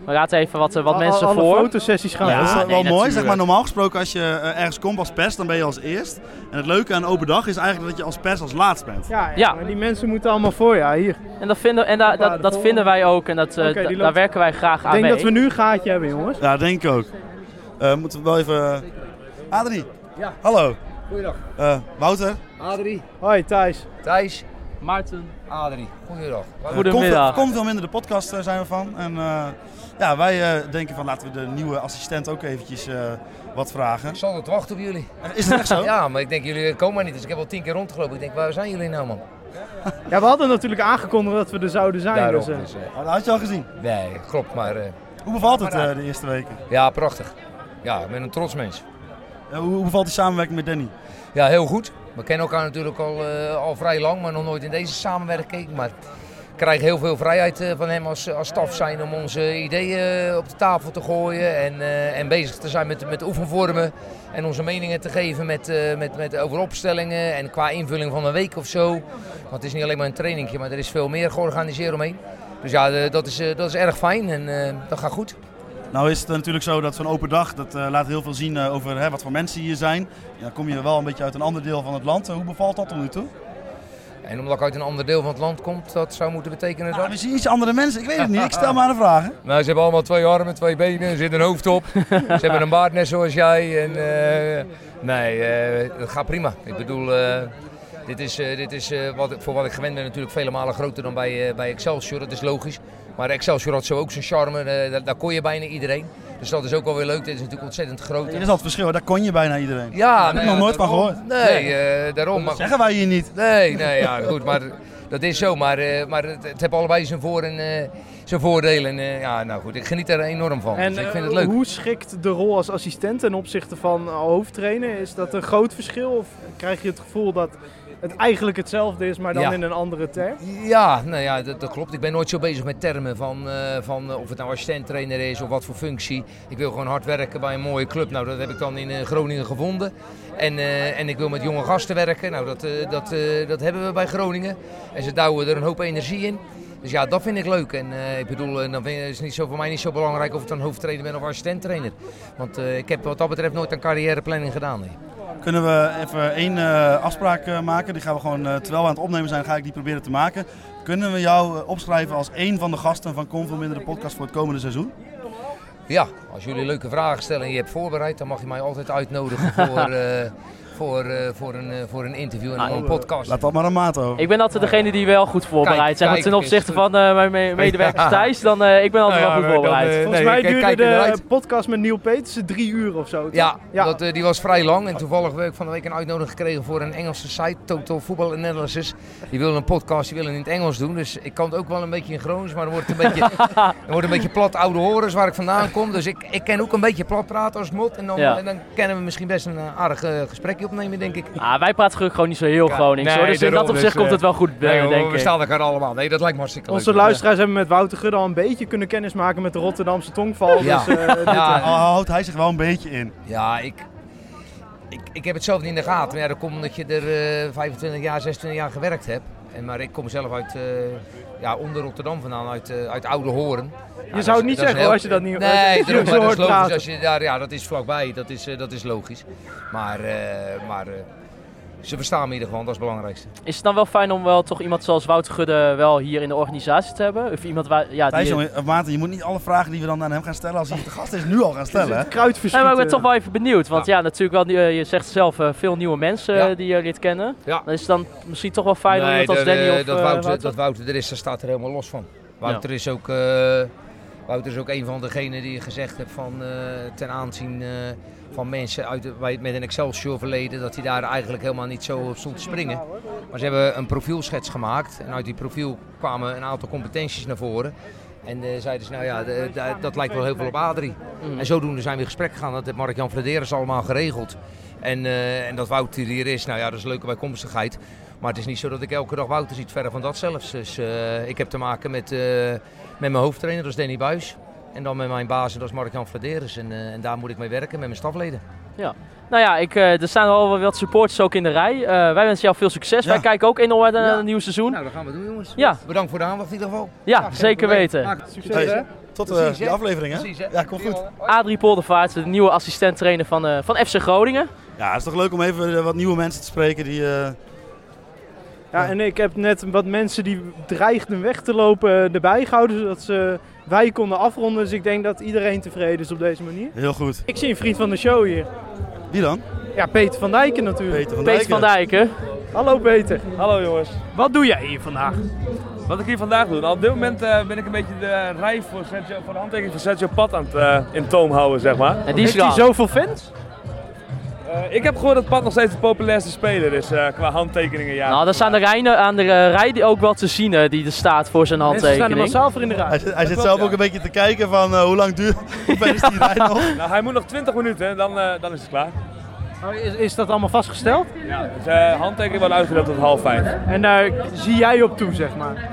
We laten even wat, eh, wat al- mensen alle voor. fotosessies gaan. dat is Eh, wel nee, mooi. Zeg natuurlijk. maar, normaal gesproken als je eh, ergens komt als pers, dan ben je als eerst. En het leuke aan open dag is eigenlijk dat je als pers als laatst bent. Ja, ja, Ja. maar die mensen moeten allemaal voor, ja, hier. En, dat vinden, en da- dat- dat vinden wij ook en dat, eh, Oké, die da- loopt. daar werken wij graag Ik aan denk mee. dat we nu een gaatje hebben, jongens. Ja, denk ik ook. Eh, moeten we wel even... Adrie. Ja. Hallo. Goeiedag. Eh, Wouter. Adrie. Hoi, Thijs. Thijs. Maarten. Adrie. Goeiedag. Komt, komt wel minder de podcast, eh, zijn we van. En eh, ja, wij eh, denken van laten we de nieuwe assistent ook eventjes eh, wat vragen. Ik zal het wachten op jullie. Is dat echt zo? ja, maar ik denk jullie komen maar niet. Dus ik heb al tien keer rondgelopen. Ik denk, waar zijn jullie nou man? Ja, we hadden natuurlijk aangekondigd dat we er zouden zijn. Daarom, dus, eh. dus, eh, Nou, Dat had je al gezien. nee, klopt. Maar eh, Hoe bevalt het eh, de eerste weken? ja, prachtig. Ja, ik ben een trots mens. Eh, hoe, hoe bevalt die samenwerking met Danny? Ja, heel goed. We kennen elkaar natuurlijk al, eh, al vrij lang, maar nog nooit in deze samenwerking. gekeken. Maar ik krijg heel veel vrijheid eh, van hem als, als staf zijn om onze ideeën eh, op de tafel te gooien. En, eh, en bezig te zijn met, met oefenvormen. En onze meningen te geven met, eh, met, met over opstellingen en qua invulling van een week of zo. Want het is niet alleen maar een trainingje, maar er is veel meer georganiseerd omheen. Dus ja, eh, dat is, eh, dat is erg fijn en eh, dat gaat goed. Nou is het natuurlijk zo dat zo'n open dag, dat eh, laat heel veel zien eh, over hè, wat voor mensen hier zijn. Ja, dan kom je wel een beetje uit een ander deel van het land. Eh, hoe bevalt dat tot nu toe? En omdat ik uit een ander deel van het land kom, dat zou moeten betekenen dat... Nou, we zien iets andere mensen. Ik weet het niet. Ik stel maar een vraag. hè. Nou, ze hebben allemaal twee armen, twee benen, er zit een hoofd op. ze hebben een baard net zoals jij. En, eh, nee, eh dat gaat prima. Ik bedoel, eh, dit is, eh, dit is eh, wat, ik- voor wat ik gewend ben natuurlijk vele malen groter dan bij, eh, bij Excelsior. Dat is logisch. Maar Excelsior had zo ook zijn charme. eh, daar, daar kon je bijna iedereen. Dus dat is ook wel weer leuk. Dit is natuurlijk ontzettend groot. Dit is al het verschil. Daar kon je bijna iedereen. Ja, Daar heb ik nog nooit van gehoord. Nee, eh, daarom. Dat Maar zeggen wij hier niet. Nee, nee, ja, goed, maar dat is zo. Maar, eh, maar het, het heeft allebei zijn, voor- en, eh, zijn voordelen. En, eh, ja, nou goed, ik geniet er enorm van. En dus ik eh, vind het leuk. hoe schikt de rol als assistent ten opzichte van eh, hoofdtrainer? Is dat een groot verschil? Of krijg je het gevoel dat het eigenlijk hetzelfde is, maar dan Ja. in een andere term? Ja, nou ja, dat, dat klopt. Ik ben nooit zo bezig met termen van, eh, van eh, of het nou assistent-trainer is of wat voor functie. Ik wil gewoon hard werken bij een mooie club. Nou, dat heb ik dan in eh, Groningen gevonden. En, eh, en ik wil met jonge gasten werken. Nou, dat, eh, dat, eh, dat hebben we bij Groningen. En ze duwen er een hoop energie in. Dus ja, dat vind ik leuk. En eh, ik bedoel, eh, dan vind, is het niet zo, voor mij niet zo belangrijk of ik dan hoofdtrainer ben of assistent-trainer. Want eh, ik heb wat dat betreft nooit een carrièreplanning gedaan. nee. Kunnen we even één eh, afspraak eh, maken? Die gaan we gewoon, eh, terwijl we aan het opnemen zijn, ga ik die proberen te maken. Kunnen we jou eh, opschrijven als één van de gasten van Kom Veel Minder de podcast voor het komende seizoen? Ja, als jullie leuke vragen stellen en je hebt voorbereid, dan mag je mij altijd uitnodigen voor, eh, voor, eh, voor, een, eh, voor een interview en Nou, een podcast. Laat dat maar aan Maat over. Ik ben altijd degene die wel goed Kijk, voorbereid zijn. Want ten kijk, opzichte is- van eh, mijn me- medewerkers Ja. Thijs, dan eh, ik ben altijd Nou ja, wel maar goed dan, voorbereid. eh, Volgens nee, mij kijk, duurde kijk de ernaar eh, podcast met Neil Petersen drie uur of zo. toch? Ja, ja. Dat, eh, die was vrij lang. En toevallig heb ik van de week een uitnodiging gekregen voor een Engelse site, Total Football Analysis. Die willen een podcast, die willen in het Engels doen. Dus ik kan het ook wel een beetje in Gronings, maar dan wordt het een beetje, dan wordt een beetje plat oude horens waar ik vandaan kom. Dus ik, ik ken ook een beetje plat praten als mot. En dan, Ja. en dan kunnen we misschien best een eh, aardig eh, gesprekje opnemen, denk ik. Ah, wij praten gelukkig gewoon niet zo heel eh, Ja, Gronings hoor. nee, Dus in dat daarom, opzicht dus, komt het wel goed, eh, Nee, hoor, denk we ik. staan elkaar allemaal. Nee, dat lijkt me hartstikke leuk. Onze luisteraars hebben met Wouter Gudde al een beetje kunnen kennismaken met de Rotterdamse tongval. Ja. Dus, eh, dit- Ja, Al houdt hij zich wel een beetje in. Ja, ik, ik, ik heb het zelf niet in de gaten. Maar ja, dat komt omdat je er eh, 25 jaar, 26 jaar gewerkt hebt. En, maar ik kom zelf uit, eh, ja, onder Rotterdam vandaan, uit, eh, uit Oude Hoorn. je zou het niet zeggen hoor, als je dat niet als je Nee, daarom, het zo maar dat is hoort logisch. praten. Als je daar, ja, dat is vlakbij, dat is, eh, dat is logisch. Maar, eh, maar eh, ze verstaan me in ieder geval, dat is het belangrijkste. Is het dan wel fijn om wel toch iemand zoals Wouter Gudde wel hier in de organisatie te hebben? Of iemand waar... Ja, Thijs, die... jongen, eh, Maarten, je moet niet alle vragen die we dan aan hem gaan stellen als hij de gast is, nu al gaan stellen. hè? Kruidverschieten. Nee, maar ik ben toch eh, wel even benieuwd. Want ja, natuurlijk wel, nieuw- eh, je zegt zelf eh, veel nieuwe mensen Ja. eh, die je lid kennen. Ja. Dan is het dan misschien toch wel fijn om iemand als dat, Danny eh, of dat, eh, Wouter, Wouter- dat Wouter er is, daar staat er helemaal los van. Wouter, is, ook, eh, Wouter is ook een van degenen die gezegd heeft van, eh, ten aanzien eh, van mensen uit, de- bij- met een Excelsior verleden, dat hij daar eigenlijk helemaal niet zo op stond te springen. Maar ze hebben een profielschets gemaakt en uit die profiel kwamen een aantal competenties naar voren. En eh zeiden ze, nou ja, d- d- dat lijkt wel heel veel op Adrie. Mm. En zodoende zijn we in gesprek gegaan. Dat heeft Mark-Jan Vladeres allemaal geregeld. En, eh, en dat Wouter hier is, nou ja, dat is een leuke bijkomstigheid. Maar het is niet zo dat ik elke dag Wouter ziet, verder van dat zelfs. Dus eh, ik heb te maken met, eh, met mijn hoofdtrainer, dat is Danny Buis. En dan met mijn baas, en dat is Mark-Jan Vladeres. En, eh, en daar moet ik mee werken, met mijn stafleden. Ja. Nou ja, ik, eh, er staan al wel wat supporters ook in de rij. Eh, wij wensen jou veel succes. Wij kijken ook enorm uit naar het eh, nieuwe seizoen. Nou, dat gaan we doen, jongens. Ja, Bedankt voor de aandacht in ieder geval. ja, zeker weten. Tot Precies, de hè? aflevering, hè? Precies, hè? Ja, komt goed. Adrie Poldervaart, de nieuwe assistent-trainer van, eh, van FC Groningen. Ja, het is toch leuk om even eh, wat nieuwe mensen te spreken die... eh, Ja, en ik heb net wat mensen die dreigden weg te lopen eh, erbij gehouden, zodat ze, wij konden afronden. Dus ik denk dat iedereen tevreden is op deze manier. Heel goed. Ik zie een vriend van de show hier. Wie dan? Ja, Peter van Dijken natuurlijk. Peter van Peter van Dijken. Hallo Peter. Hallo jongens. Wat doe jij hier vandaag? Wat ik hier vandaag doe? Nou, op dit moment eh, ben ik een beetje de rij voor, Sergio, voor de handtekening van Sergio Pat aan het eh, in toom houden, zeg maar. Eh, En die is Heeft hij gedaan. zoveel fans? ik heb gehoord dat Pat nog steeds de populairste speler is eh, qua handtekeningen. Ja. Nou, daar staan de rij, aan de eh, rij die ook wel te zien eh, die er staat voor zijn handtekening. voor in de rij. Hij, zit- hij zit zelf ook een beetje te kijken van eh, hoe lang duurt... Hoe ver is die rij nog? Nou, hij moet nog 20 minuten, hè, dan, eh, dan is het klaar. Oh, Is, is dat allemaal vastgesteld? Ja, dus eh handtekening wordt uitgedeeld tot half vijf. En daar zie jij op toe, zeg maar.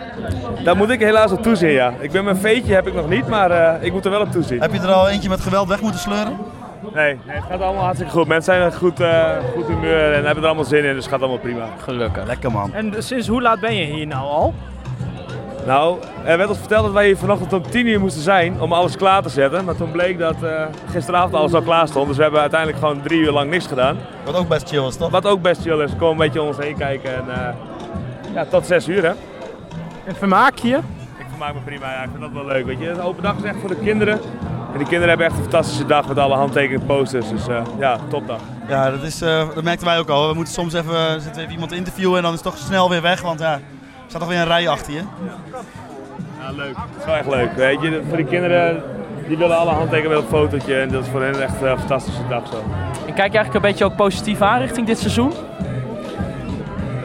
Daar moet ik helaas op toezien, ja. Ik ben mijn veetje heb ik nog niet, maar eh, ik moet er wel op toezien. Heb je er al eentje met geweld weg moeten sleuren? Nee, nee, het gaat allemaal hartstikke goed. Mensen zijn in goed, eh, goed humeur en hebben er allemaal zin in, dus het gaat allemaal prima. Gelukkig. Lekker man. En sinds hoe laat ben je hier nou al? Nou, er werd ons verteld dat wij hier vanochtend om 10 uur moesten zijn om alles klaar te zetten. Maar toen bleek dat eh, gisteravond alles al klaar stond. Dus we hebben uiteindelijk gewoon drie uur lang niks gedaan. Wat ook best chill is, toch? Wat ook best chill is. Gewoon een beetje om ons heen kijken. En, eh, ja, tot 6 uur hè. En vermaak je? Ik vermaak me prima. Ja, ik vind dat wel leuk. Weet je, een open dag is echt voor de kinderen. En die kinderen hebben echt een fantastische dag met alle handtekening posters. Dus eh, ja, topdag. Ja, dat, is, eh, dat merkten wij ook al. We moeten soms even, eh, zitten we even iemand te interviewen en dan is het toch snel weer weg. Want ja, er staat toch weer een rij achter je. Ja, leuk. Het is wel echt leuk. Weet je, voor die kinderen, die willen alle handtekeningen met een fotootje. En dat is voor hen echt eh, een fantastische dag zo. En kijk je eigenlijk een beetje ook positief aan richting dit seizoen?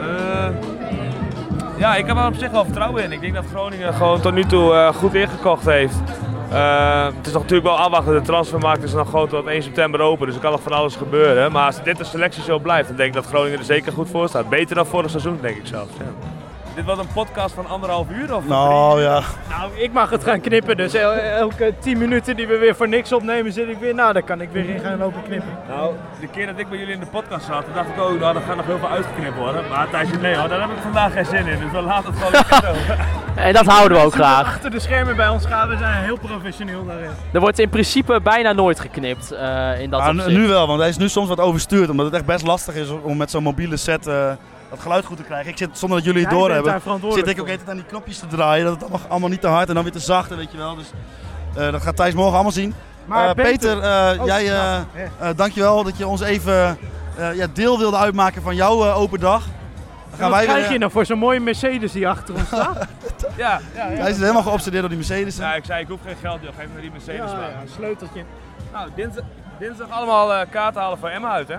Eh, ja, ik heb er op zich wel vertrouwen in. Ik denk dat Groningen gewoon tot nu toe eh, goed ingekocht heeft. Eh, het is nog natuurlijk wel afwachten. De transfermarkt is nog gewoon tot 1 september open. Dus er kan nog van alles gebeuren. Maar als dit de selectie zo blijft, dan denk ik dat Groningen er zeker goed voor staat. Beter dan vorig seizoen, denk ik zelfs. Ja. Dit was een podcast van anderhalf uur of Nou ja. Nou, ik mag het gaan knippen, dus el- elke 10 minuten die we weer voor niks opnemen, zit ik weer. Nou, daar kan ik weer in gaan lopen knippen. Nou, de keer dat ik bij jullie in de podcast zat, dacht ik ook, nou, dat gaat nog heel veel uitgeknipt worden. Maar Thijsje, nee hoor, daar heb ik vandaag geen zin in. Dus we laten het gewoon lekker zo. En dat houden we ook graag. Achter de schermen bij ons gaan, we zijn heel professioneel daarin. Er wordt in principe bijna nooit geknipt eh, in dat Maar nu- opzicht. Ah, nu wel, want hij is nu soms wat overstuurd. Omdat het echt best lastig is om met zo'n mobiele set eh, dat geluid goed te krijgen. Ik zit, zonder dat jullie het Jij bent daar doorhebben, verantwoordelijk zit ik ook voor. altijd aan die knopjes te draaien. Dat het allemaal, allemaal niet te hard en dan weer te zacht, en weet je wel. Dus eh, dat gaat Thijs morgen allemaal zien. Maar Eh, Peter, Peter, eh, oh, jij, eh nou, eh, dankjewel dat je ons even eh, ja, deel wilde uitmaken van jouw eh, open dag. Dan En wat weer, krijg eh, je nou voor zo'n mooie Mercedes die achter ons staat? Ja, ja, Hij is helemaal geobsedeerd door die Mercedes. Ja, ik zei, ik hoef geen geld, joh. Geef me die Mercedes maar. sleuteltje. Nou, dinsdag, dinsdag allemaal eh, kaarten halen voor Emma uit, hè?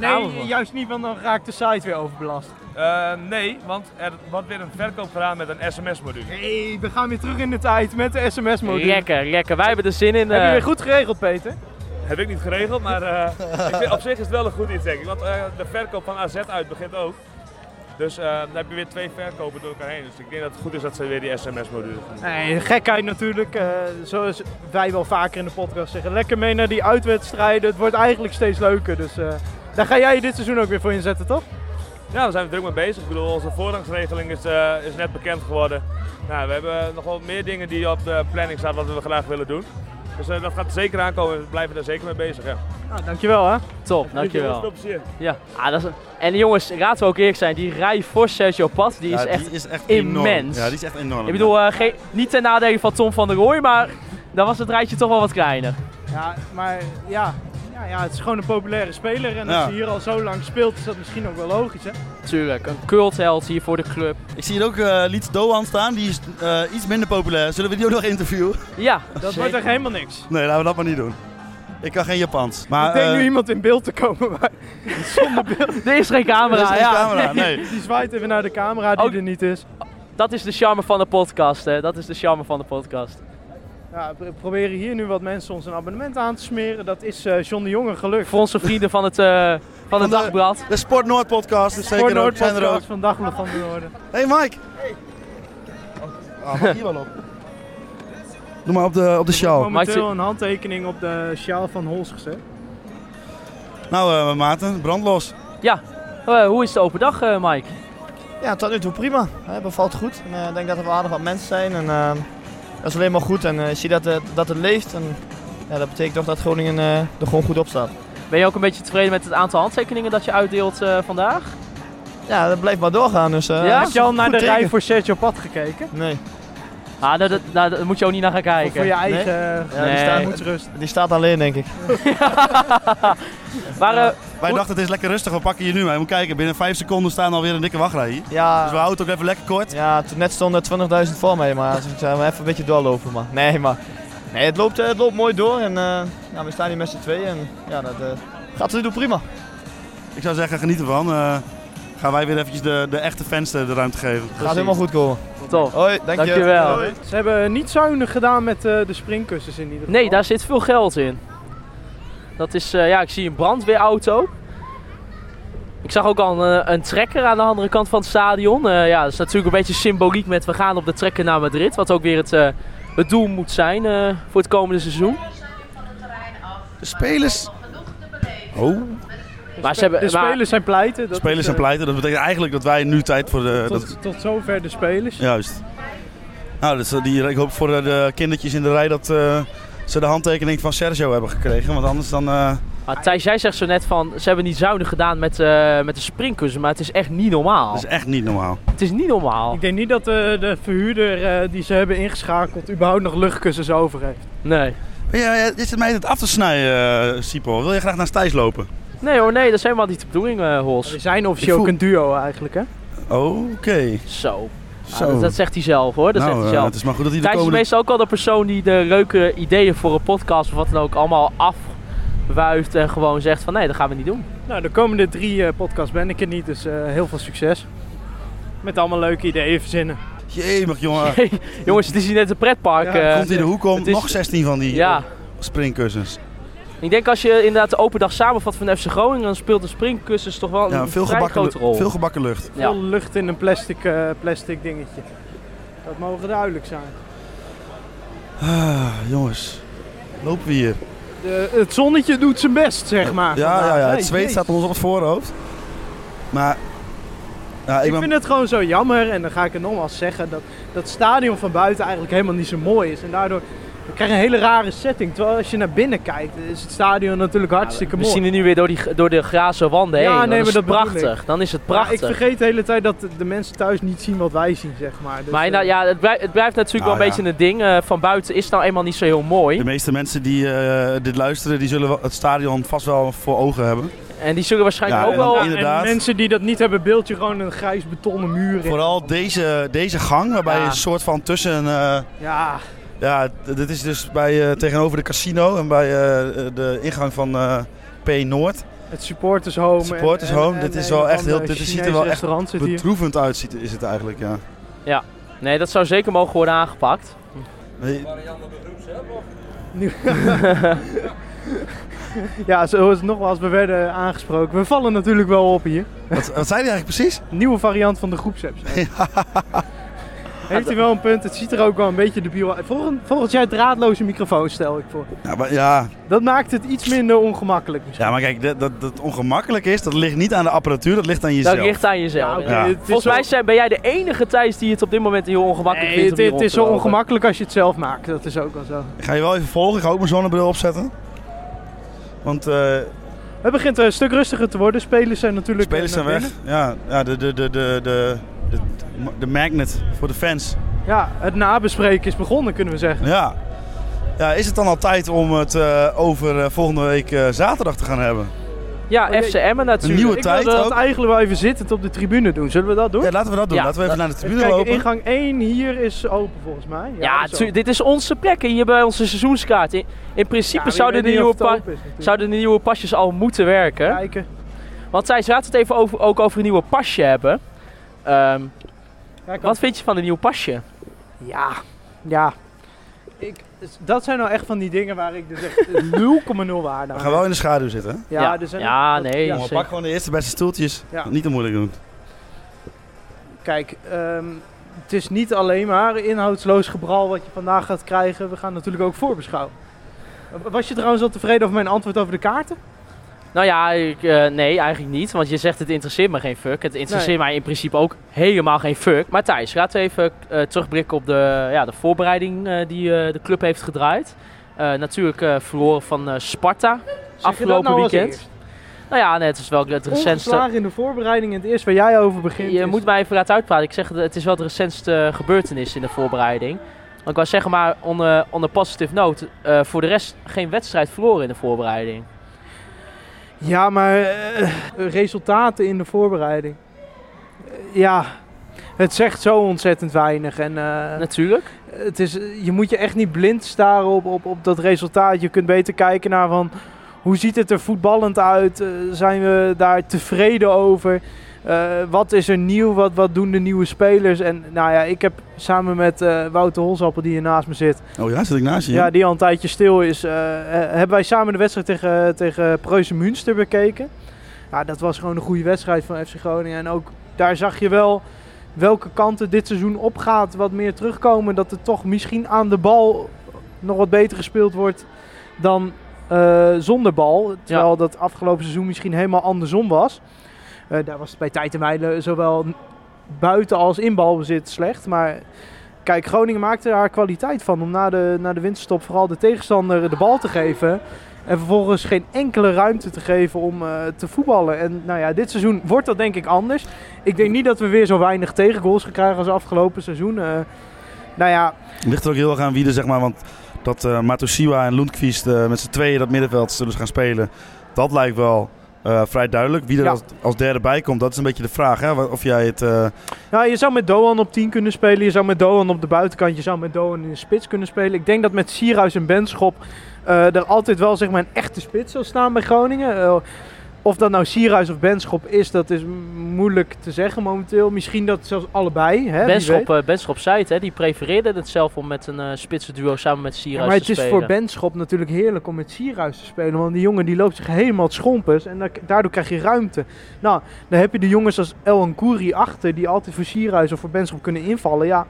Nee, juist niet, want dan raakt de site weer overbelast. Eh, nee, want er wordt weer een verkoop gedaan met een sms-module. Nee, we gaan weer terug in de tijd met de sms-module. Lekker, lekker. Wij hebben er zin in. Heb je eh. weer goed geregeld, Peter? Heb ik niet geregeld, maar eh, ik vind- op zich is het wel een goed iets, denk ik. Want eh, de verkoop van AZ uit begint ook. Dus eh, dan heb je weer twee verkopen door elkaar heen. Dus ik denk dat het goed is dat ze weer die sms-module gaan doen. Nee, gekheid natuurlijk. eh, zoals wij wel vaker in de podcast zeggen. Lekker mee naar die uitwedstrijden. Het wordt eigenlijk steeds leuker. Dus eh, daar ga jij je dit seizoen ook weer voor inzetten, toch? Ja, daar zijn we druk mee bezig. Ik bedoel, onze voorrangsregeling is, eh, is net bekend geworden. Nou, we hebben nog wel meer dingen die op de planning staan wat we graag willen doen. Dus eh, dat gaat er zeker aankomen. We blijven daar zeker mee bezig, ja. Nou, dankjewel hè. Top, Jullie dankjewel. veel plezier. Ja, ah, dat is... En jongens, laten we ook eerlijk zijn, die rij voor Sergio Pat, die, Ja, is, die echt is echt enorm. immens. Ja, die is echt enorm, Ik bedoel, eh, geen- niet ten nadele van Tom van der Rooij, maar dan was het rijtje toch wel wat kleiner. Ja, maar ja. Ja, ja, het is gewoon een populaire speler. En Ja. als hij hier al zo lang speelt, is dat misschien ook wel logisch hè. Tuurlijk, een cultheld hier voor de club. Ik zie hier ook eh Lietz Doan staan, die is eh, iets minder populair. Zullen we die ook nog interviewen? Ja, Dat wordt echt helemaal niks. Nee, laten we dat maar niet doen. Ik kan geen Japans. Maar, ik denk eh, nu iemand in beeld te komen, maar zonder beeld. Er is geen camera, Er is geen ja. camera, nee. Oh. Die zwaait even naar de camera die er niet is. dat is de charme van de podcast, hè. Dat is de charme van de podcast. Ja, we proberen hier nu wat mensen ons een abonnement aan te smeren. Dat is eh, John de Jonge gelukt. Voor onze vrienden van het, eh, van het Dagblad. De Sport Noord podcast is zeker ook, zijn er ook. van Dagblad van de Noorden. Hey Mike! Ah, mag hier wel op? Doe maar op de, op de sjaal. Momenteel een handtekening op de sjaal van Hols gezet. Nou eh Maarten, brandlos. Ja, eh, hoe is de open dag, eh, Mike? Ja, tot nu toe prima. Hè, bevalt goed. En, eh, ik denk dat er wel aardig wat mensen zijn. En, eh, dat is alleen maar goed. En eh, je ziet dat, het- dat het leeft. En, ja, dat betekent toch dat Groningen eh, er gewoon goed op staat. Ben je ook een beetje tevreden met het aantal handtekeningen dat je uitdeelt eh, vandaag? Ja, dat blijft maar doorgaan. Dus, eh, Ja? dat Heb is je al een naar goed de rij teken. Voor Sergio Pad gekeken. Nee. Ah, daar, daar, daar- daar moet je ook niet naar gaan kijken. Voor je eigen- Ja, die staat- rust. Die staat alleen, denk ik. Maar, eh, Wij dachten het is lekker rustig, we pakken je nu mee. Moet kijken, binnen 5 seconden staan alweer een dikke wachtrij hier. Ja. Dus we houden het ook even lekker kort. Ja, toen net stonden er 20.000 voor mij, maar dus ik zei, maar even een beetje doorlopen. Maar nee, maar nee, het, loopt, eh, het loopt mooi door en eh, nou, we staan hier met z'n tweeën en ja, dat eh, gaat tot nu toe prima. Ik zou zeggen, geniet ervan. Eh, gaan wij weer eventjes de, de echte fans de, de ruimte geven. Gaat helemaal goed komen. Top. Hoi, dank je. Hoi. Ze hebben niet zuinig gedaan met eh, de springkussens in ieder geval. Nee, daar zit veel geld in. Dat is, eh, ja, ik zie een brandweerauto. Ik zag ook al een, eh, een trekker aan de andere kant van het stadion. Eh, ja, dat is natuurlijk een beetje symboliek met we gaan op de trekker naar Madrid. Wat ook weer het, eh, het doel moet zijn eh, voor het komende seizoen. De spelers... Oh. Maar ze hebben, de maar- spelers zijn pleiten. dat Spelers is, zijn eh, pleiten, dat betekent eigenlijk dat wij nu tijd voor de... dat- Tot, tot zover de spelers. Juist. Nou, dus eh, die, ik hoop voor eh, de kindertjes in de rij dat eh, ze de handtekening van Sergio hebben gekregen. Want anders dan... eh, Ah, Thijs, jij zegt zo net van ze hebben niet zuinig gedaan met, eh, met de springkussen. Maar het is echt niet normaal. Dat is echt niet normaal. Het is niet normaal. Ik denk niet dat de, de verhuurder eh, die ze hebben ingeschakeld überhaupt nog luchtkussens over heeft. Nee. Ja, ja, dit zit mij het af te snijden, eh Sipo. Wil je graag naast Thijs lopen? Nee hoor, nee, dat is helemaal niet de bedoeling, eh Hols. We zijn officieel ook een duo eigenlijk, hè? Oké. Zo. Zo. Ah, dat, dat zegt hij zelf hoor. Dat Nou, zegt hij eh, zelf. het is maar goed dat hij de Thijs komende- is meestal ook al de persoon die de leuke ideeën voor een podcast of wat dan ook allemaal afwuift en gewoon zegt van nee, dat gaan we niet doen. Nou, de komende drie eh, podcasts ben ik er niet, dus eh, heel veel succes. Met allemaal leuke ideeën verzinnen. Jemig, jongen. Jongens, het is hier net een pretpark. eh. Komt hij de hoek om, Het is- nog 16 van die Ja. springkussens. Ik denk als je inderdaad de open dag samenvat van FC Groningen, dan speelt de springkussens toch wel Ja, een veel vrij gebakken, grote rol. veel gebakken lucht. Veel lucht in een plastic, eh, plastic dingetje. Dat mogen duidelijk zijn. Ah, jongens, lopen we hier. De, het zonnetje doet zijn best, zeg Ah, maar. Ja, vandaag. ja, ja. Nee, Het zweet jezus. staat ons op het voorhoofd. Maar ja, ik ik ben- vind het gewoon zo jammer, en dan ga ik het nogmaals zeggen, dat dat stadion van buiten eigenlijk helemaal niet zo mooi is. En daardoor we krijgen een hele rare setting. Terwijl als je naar binnen kijkt, is het stadion natuurlijk hartstikke We mooi. zien er nu weer door, die, door de grazen wanden heen. dan is het bedoel ik. prachtig. Dan is het Maar prachtig. ik vergeet de hele tijd dat de mensen thuis niet zien wat wij zien, zeg maar. Dus, maar nou, eh, ja, het, blijft, het blijft natuurlijk Nou wel een ja. beetje een ding. eh, van buiten is het nou eenmaal niet zo heel mooi. de meeste mensen die eh, dit luisteren, die zullen wel het stadion vast wel voor ogen hebben. En die zullen waarschijnlijk Ja, ook en dan wel... inderdaad. mensen die dat niet hebben, beeld je gewoon een grijs betonnen muur in. Vooral deze, deze gang, waarbij Ja. een soort van tussen... eh, Ja, ja, d- dit is dus bij, eh, tegenover de casino en bij eh, de ingang van eh, P Noord. het supporters home. Supporters home, dit is wel echt heel, dit ziet er wel echt hier. bedroevend uit, ziet- is het eigenlijk, ja. Ja, nee, dat zou zeker mogen worden aangepakt. Nee. Ja, zoals nogmaals, we werden aangesproken. We vallen natuurlijk wel op hier. Wat, wat zei hij eigenlijk precies? Nieuwe variant van de groepsapp. zijn. Heeft hij wel een punt? Het ziet er ook wel een beetje debiel uit. Volgend, volgend jaar draadloze microfoon stel ik voor. Ja, maar, ja. Dat maakt het iets minder ongemakkelijk. ja, maar kijk, dat, dat, dat ongemakkelijk is, dat ligt niet aan de apparatuur, dat ligt aan jezelf. Dat ligt aan jezelf. Ja, oké, het is Volgens mij zijn, ben jij de enige Thijs die het op dit moment heel ongemakkelijk Nee, vindt. het, om hier het rond is te zo lopen. ongemakkelijk als je het zelf maakt. Dat is ook wel zo. Ik ga je wel even volgen, ik ga ook mijn zonnebril opzetten. Want eh Het begint eh, een stuk rustiger te worden. Spelers zijn natuurlijk spelers eh, zijn naar weg. binnen. Ja, ja de, de, de, de, de, de, de magnet voor de fans. Ja, het nabespreken is begonnen, kunnen we zeggen. Ja. ja is het dan al tijd om het eh, over eh, volgende week eh, zaterdag te gaan hebben? Ja, Oh, FC Emmen natuurlijk. Een nieuwe Ik tijd wilde dat ook. eigenlijk wel even zittend op de tribune doen. Zullen we dat doen? Ja, laten we dat doen. Laten we even naar de tribune lopen. ingang 1 hier is open volgens mij. Ja, dat is tu- dit is onze plek hè, hier bij onze seizoenskaart. In, in principe Ja, maar je zouden, de weet niet nieuwe of het pa- open is natuurlijk. zouden de nieuwe pasjes al moeten werken. Kijken. Want Thijs, laten we het even over, ook over een nieuwe pasje hebben. Ehm, Wat vind je van een nieuw pasje? Ja, ja. Ik, dat zijn nou echt van die dingen waar ik dus echt 0,0 waarde aan We gaan wel in de schaduw zitten. hè? Ja, Ja. er zijn- Ja, nee, Jongen, zeker. pak gewoon de eerste beste stoeltjes. Ja. Niet te moeilijk doen. Kijk, ehm, het is niet alleen maar inhoudsloos gebral wat je vandaag gaat krijgen. We gaan natuurlijk ook voorbeschouwen. Was je trouwens al tevreden over mijn antwoord over de kaarten? Nou ja, ik, eh, nee, eigenlijk niet. Want je zegt het interesseert me geen fuck. Het interesseert mij in principe ook helemaal geen fuck. Maar Thijs, laten we even eh, terugblikken op de, ja, de voorbereiding eh, die eh, de club heeft gedraaid. Eh, natuurlijk eh, verloren van eh, Sparta afgelopen nou als weekend. eerst? Nou ja, nee, het is wel het recentste. Ongeslagen in de voorbereiding en het eerst waar jij over begint. Je is- moet mij even laten uitpraten. Ik zeg, het het is wel de recentste gebeurtenis in de voorbereiding. Want ik wou zeggen, maar onder, onder positive note, eh, voor de rest geen wedstrijd verloren in de voorbereiding. Ja, maar eh, resultaten in de voorbereiding. Eh, ja, het zegt zo ontzettend weinig. En, eh, Natuurlijk. Het is, eh, je moet je echt niet blind staren op, op, op dat resultaat. Je kunt beter kijken naar van, hoe ziet het er voetballend uit? Eh, zijn we daar tevreden over? Eh, wat is er nieuw? Wat, wat doen de nieuwe spelers? En nou ja, ik heb samen met eh, Wouter Holsappel, die hier naast me zit, Oh ja, zit ik naast je? hè? ja, die al een tijdje stil is. eh, eh, hebben wij samen de wedstrijd tegen, tegen Preußen Münster bekeken. Ja, dat was gewoon een goede wedstrijd van FC Groningen. En ook daar zag je wel welke kanten dit seizoen opgaat. Wat meer terugkomen. Dat er toch misschien aan de bal nog wat beter gespeeld wordt dan eh, zonder bal. Terwijl dat afgelopen seizoen misschien helemaal andersom was. Eh, daar was het bij tijd en mijlen zowel buiten als in balbezit slecht. Maar kijk, Groningen maakte haar kwaliteit van om na de, na de winterstop vooral de tegenstander de bal te geven. En vervolgens geen enkele ruimte te geven om eh, te voetballen. En nou ja, dit seizoen wordt dat denk ik anders. Ik denk niet dat we weer zo weinig tegengoals gaan krijgen als afgelopen seizoen. Eh, nou ja, Ligt er ook heel erg aan wie er, zeg maar, want dat eh Matosiwa en Lundqvist eh, met z'n tweeën dat middenveld zullen gaan spelen, dat lijkt wel eh, vrij duidelijk. Wie er Ja. als, als derde bij komt, dat is een beetje de vraag. Hè? Wa- Of jij het... eh, Nou, je zou met Doan op 10 kunnen spelen. Je zou met Doan op de buitenkant. Je zou met Doan in de spits kunnen spelen. Ik denk dat met Sierhuis en Benschop eh, er altijd wel zeg maar, een echte spits zal staan bij Groningen. Eh, of dat nou Sierhuis of Benschop is, dat is m- moeilijk te zeggen momenteel. Misschien dat zelfs allebei. Hè, wie weet. Benschop, eh Benschop zei het, hè, die prefereerde het zelf om met een eh spitsen duo samen met Sierhuis Ja, maar het te is spelen. voor Benschop natuurlijk heerlijk om met Sierhuis te spelen. Want die jongen die loopt zich helemaal het schompers. En da- daardoor krijg je ruimte. Nou, dan heb je de jongens als El Ankouri achter. Die altijd voor Sierhuis of voor Benschop kunnen invallen. Ja,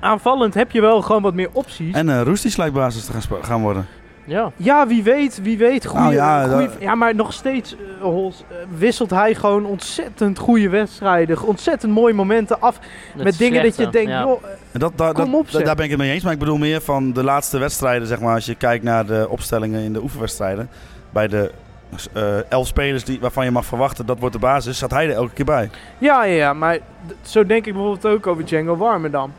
aanvallend heb je wel gewoon wat meer opties. en eh Roest die lijkt basis te gaan, spe- gaan worden. Ja. ja, wie weet, wie weet. Goeie, Nou ja, ja, dat- ja, maar nog steeds eh, Hols, eh, wisselt hij gewoon ontzettend goede wedstrijden. Ontzettend mooie momenten af. Met, dingen dat je denkt, joh, eh, En dat, daar- kom dat- op, zeg. daar ben ik het mee eens. Maar ik bedoel meer van de laatste wedstrijden, zeg maar, als je kijkt naar de opstellingen in de oefenwedstrijden. Bij de eh, elf spelers die, waarvan je mag verwachten dat wordt de basis, zat hij er elke keer bij. Ja, ja, ja, maar d- zo denk ik bijvoorbeeld ook over Django Warmerdam.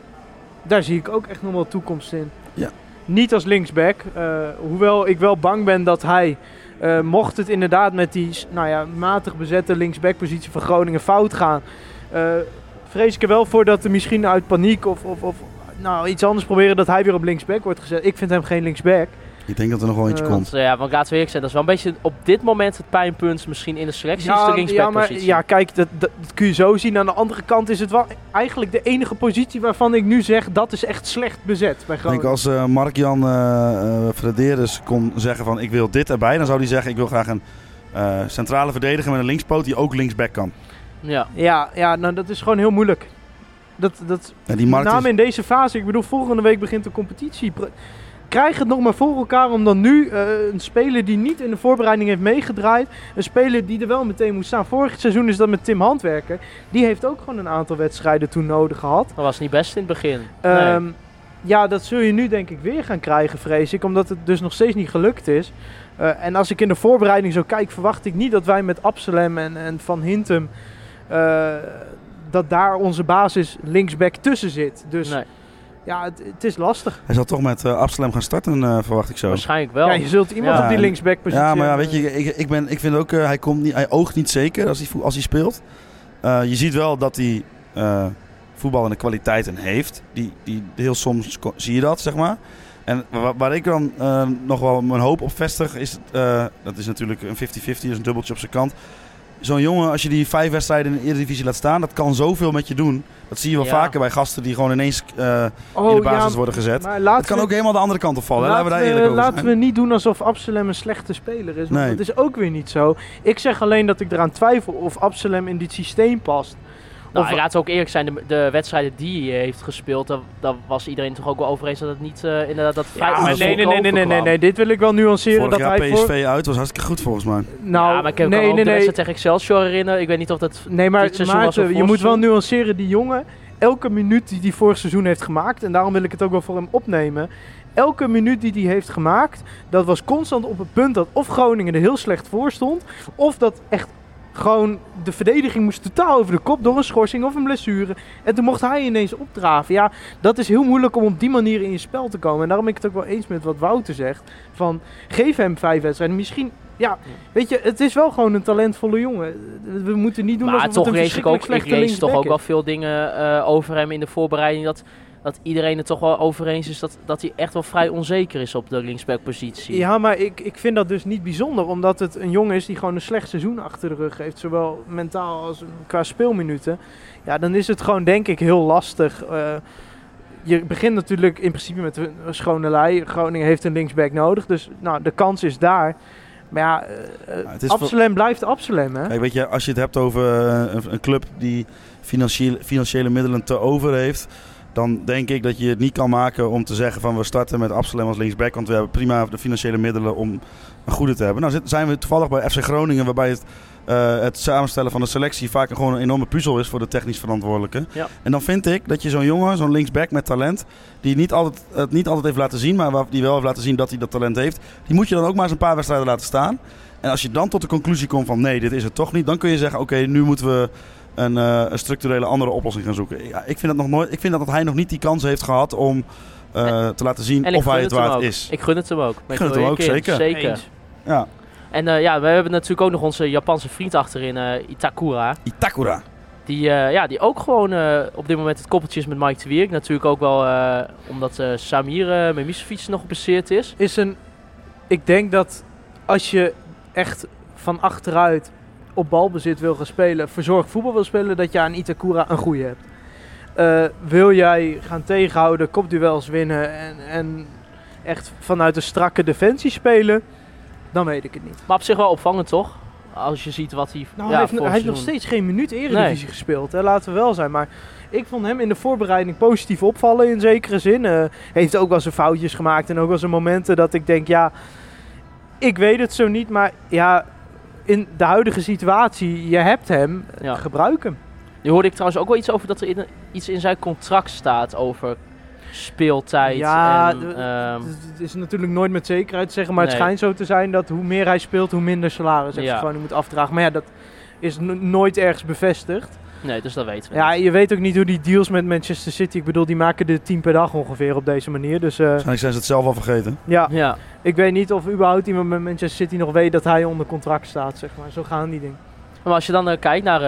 Daar zie ik ook echt nog wel toekomst in. Ja. Niet als linksback, eh, hoewel ik wel bang ben dat hij, eh, mocht het inderdaad met die s- nou ja, matig bezette linksbackpositie van Groningen fout gaan, eh, vrees ik er wel voor dat er misschien uit paniek of, of, of nou, iets anders proberen dat hij weer op linksback wordt gezet. Ik vind hem geen linksback. Ik denk dat er nog wel eentje Eh, komt. Want, eh, ja, want laten we eerlijk zijn, dat is wel een beetje op dit moment het pijnpunt misschien in de selectie, is de ja, maar, linksbackpositie. ja, kijk, dat, dat, dat kun je zo zien. Aan de andere kant is het wel eigenlijk de enige positie waarvan ik nu zeg dat is echt slecht bezet bij Ik denk Groningen. als eh, Mark-Jan eh eh, Frederis kon zeggen van ik wil dit erbij, dan zou hij zeggen ik wil graag een eh, centrale verdediger met een linkspoot die ook linksback kan. Ja, ja, ja nou, dat is gewoon heel moeilijk. Dat, dat, Ja, die markt Nou, met name is- in deze fase, ik bedoel, volgende week begint de competitie. Pr- Krijg het nog maar voor elkaar om dan nu eh, een speler die niet in de voorbereiding heeft meegedraaid. Een speler die er wel meteen moet staan. Vorig seizoen is dat met Tim Handwerker. Die heeft ook gewoon een aantal wedstrijden toen nodig gehad. Dat was niet best in het begin. Ehm, nee. Ja, dat zul je nu denk ik weer gaan krijgen, vrees ik. Omdat het dus nog steeds niet gelukt is. Eh, en als ik in de voorbereiding zo kijk, verwacht ik niet dat wij met Absalem en, en Van Hintem... eh, dat daar onze basis linksback tussen zit. Dus ja, het, het is lastig. Hij zal toch met eh Absalem gaan starten, eh, verwacht ik zo. Waarschijnlijk wel. Ja, je zult iemand op die linksbackpositie Ja, maar ja, weet hebben. je, ik, ik, ben, ik vind ook, eh, hij, komt niet, hij oogt niet zeker als hij, vo- als hij speelt. Eh, je ziet wel dat hij eh voetballende kwaliteiten heeft. Die, die, heel soms ko- zie je dat, zeg maar. En wa- waar, ik dan eh, nog wel mijn hoop op vestig is, eh, dat is natuurlijk een 50-50, dus een dubbeltje op zijn kant. zo'n jongen, als je die vijf wedstrijden in de Eredivisie laat staan, dat kan zoveel met je doen. Dat zie je wel Ja. vaker bij gasten die gewoon ineens eh, in de Oh, basis ja, worden gezet. maar Dat laten kan we- ook helemaal de andere kant op vallen. hè. Laten, we daar we- eerlijk over Laten zijn. we niet doen alsof Absalem een slechte speler is. Want Nee. dat is ook weer niet zo. Ik zeg alleen dat ik eraan twijfel of Absalem in dit systeem past. Nou, Of- laten we ook eerlijk zijn, de, de wedstrijden die hij heeft gespeeld, daar, daar was iedereen toch ook wel over eens dat het niet eh, inderdaad dat vrij maar nee, onzeker nee, nee, nee, nee, nee, overkwam. nee, dit wil ik wel nuanceren. Vorig dat jaar hij voor- PSV uit was hartstikke goed volgens mij. Nou, ja, maar ik heb nee, ook nee, de nee. wedstrijd tegen Excelsior herinneren. Ik weet niet of dat Nee, maar dit seizoen was Maarten, of je moet wel vorig nuanceren. Die jongen, elke minuut die hij vorig seizoen heeft gemaakt, en daarom wil ik het ook wel voor hem opnemen. Elke minuut die hij heeft gemaakt, dat was constant op het punt dat of Groningen er heel slecht voor stond, of dat echt gewoon de verdediging moest totaal over de kop door een schorsing of een blessure. En toen mocht hij ineens opdraven. Ja, dat is heel moeilijk om op die manier in je spel te komen. En daarom ben ik het ook wel eens met wat Wouter zegt. Van, geef hem vijf wedstrijden. Misschien, ja, weet je, het is wel gewoon een talentvolle jongen. We moeten niet doen Maar alsof het toch een lees ik ook, verschrikkelijk ik slechte lees toch linksback ook wel is. veel dingen eh, over hem in de voorbereiding. Dat, dat iedereen het toch wel over eens is dat, dat hij echt wel vrij onzeker is op de linksbackpositie. Ja, maar ik, ik vind dat dus niet bijzonder. Omdat het een jongen is die gewoon een slecht seizoen achter de rug heeft. Zowel mentaal als qua speelminuten. Ja, dan is het gewoon denk ik heel lastig. eh, je begint natuurlijk in principe met een een schone lei. Groningen heeft een linksback nodig. Dus nou, de kans is daar. Maar ja, eh, eh, het is Absalem blijft Absalem, hè? Kijk, weet je, als je het hebt over eh, een, een club die financiële, financiële middelen te over heeft, dan denk ik dat je het niet kan maken om te zeggen van we starten met Absalem als linksback, want we hebben prima de financiële middelen om een goede te hebben. Nou zit- zijn we toevallig bij FC Groningen, waarbij het, eh, het samenstellen van de selectie vaak gewoon een enorme puzzel is voor de technisch verantwoordelijke. Ja. En dan vind ik dat je zo'n jongen, zo'n linksback met talent, die niet altijd, het niet altijd heeft laten zien, maar waar- die wel heeft laten zien dat hij dat talent heeft, die moet je dan ook maar eens een paar wedstrijden laten staan. En als je dan tot de conclusie komt van nee, dit is het toch niet, dan kun je zeggen: oké, nu moeten we een, eh, een structurele andere oplossing gaan zoeken. Ja, ik vind dat nog nooit. Ik vind dat, dat hij nog niet die kans heeft gehad om eh, te laten zien En ik of hij gun het hem waard ook. is. Ik gun het hem ook. Ben Ik gun het wel hem ook een keer. zeker. Zeker. Eens. Ja. En eh, ja, we hebben natuurlijk ook nog onze Japanse vriend achterin, eh, Itakura. Itakura. Die, eh, ja, die ook gewoon eh, op dit moment het koppeltje is met Mike de Wierk. Natuurlijk ook wel eh, omdat eh, Samir eh Memisevic nog geblesseerd is. Is een, ik denk dat als je echt van achteruit op balbezit wil gaan spelen, verzorgd voetbal wil spelen, dat je aan Itakura een goeie hebt. Eh, wil jij gaan tegenhouden, kopduels winnen en, en echt vanuit een strakke defensie spelen, dan weet ik het niet. Maar op zich wel opvangend, toch? Als je ziet wat hij... Nou, ja, hij heeft, hij vorig heeft nog seizoen- steeds geen minuut Eredivisie gespeeld, hè, laten we wel zijn. Maar ik vond hem in de voorbereiding positief opvallen in zekere zin. Eh, heeft ook wel zijn foutjes gemaakt en ook wel zijn momenten dat ik denk, ja, ik weet het zo niet. Maar ja, in de huidige situatie, je hebt hem, gebruik hem. Nu hoorde ik trouwens ook wel iets over dat er in, iets in zijn contract staat over speeltijd. Ja, en, d- ehm, Het is natuurlijk nooit met zekerheid te zeggen, maar het Nee. schijnt zo te zijn dat hoe meer hij speelt, hoe minder salaris hij Ja. Groningen moet afdragen. Maar ja, dat is no- nooit ergens bevestigd. nee, dus dat weten we Ja, niet. je weet ook niet hoe die deals met Manchester City. Ik bedoel, die maken er 10 per dag ongeveer op deze manier. Dus eh, Waarschijnlijk zijn ze het zelf al vergeten. ja. ik weet niet of überhaupt iemand met Manchester City nog weet dat hij onder contract staat, zeg maar. Zo gaan die dingen. Maar als je dan eh, kijkt naar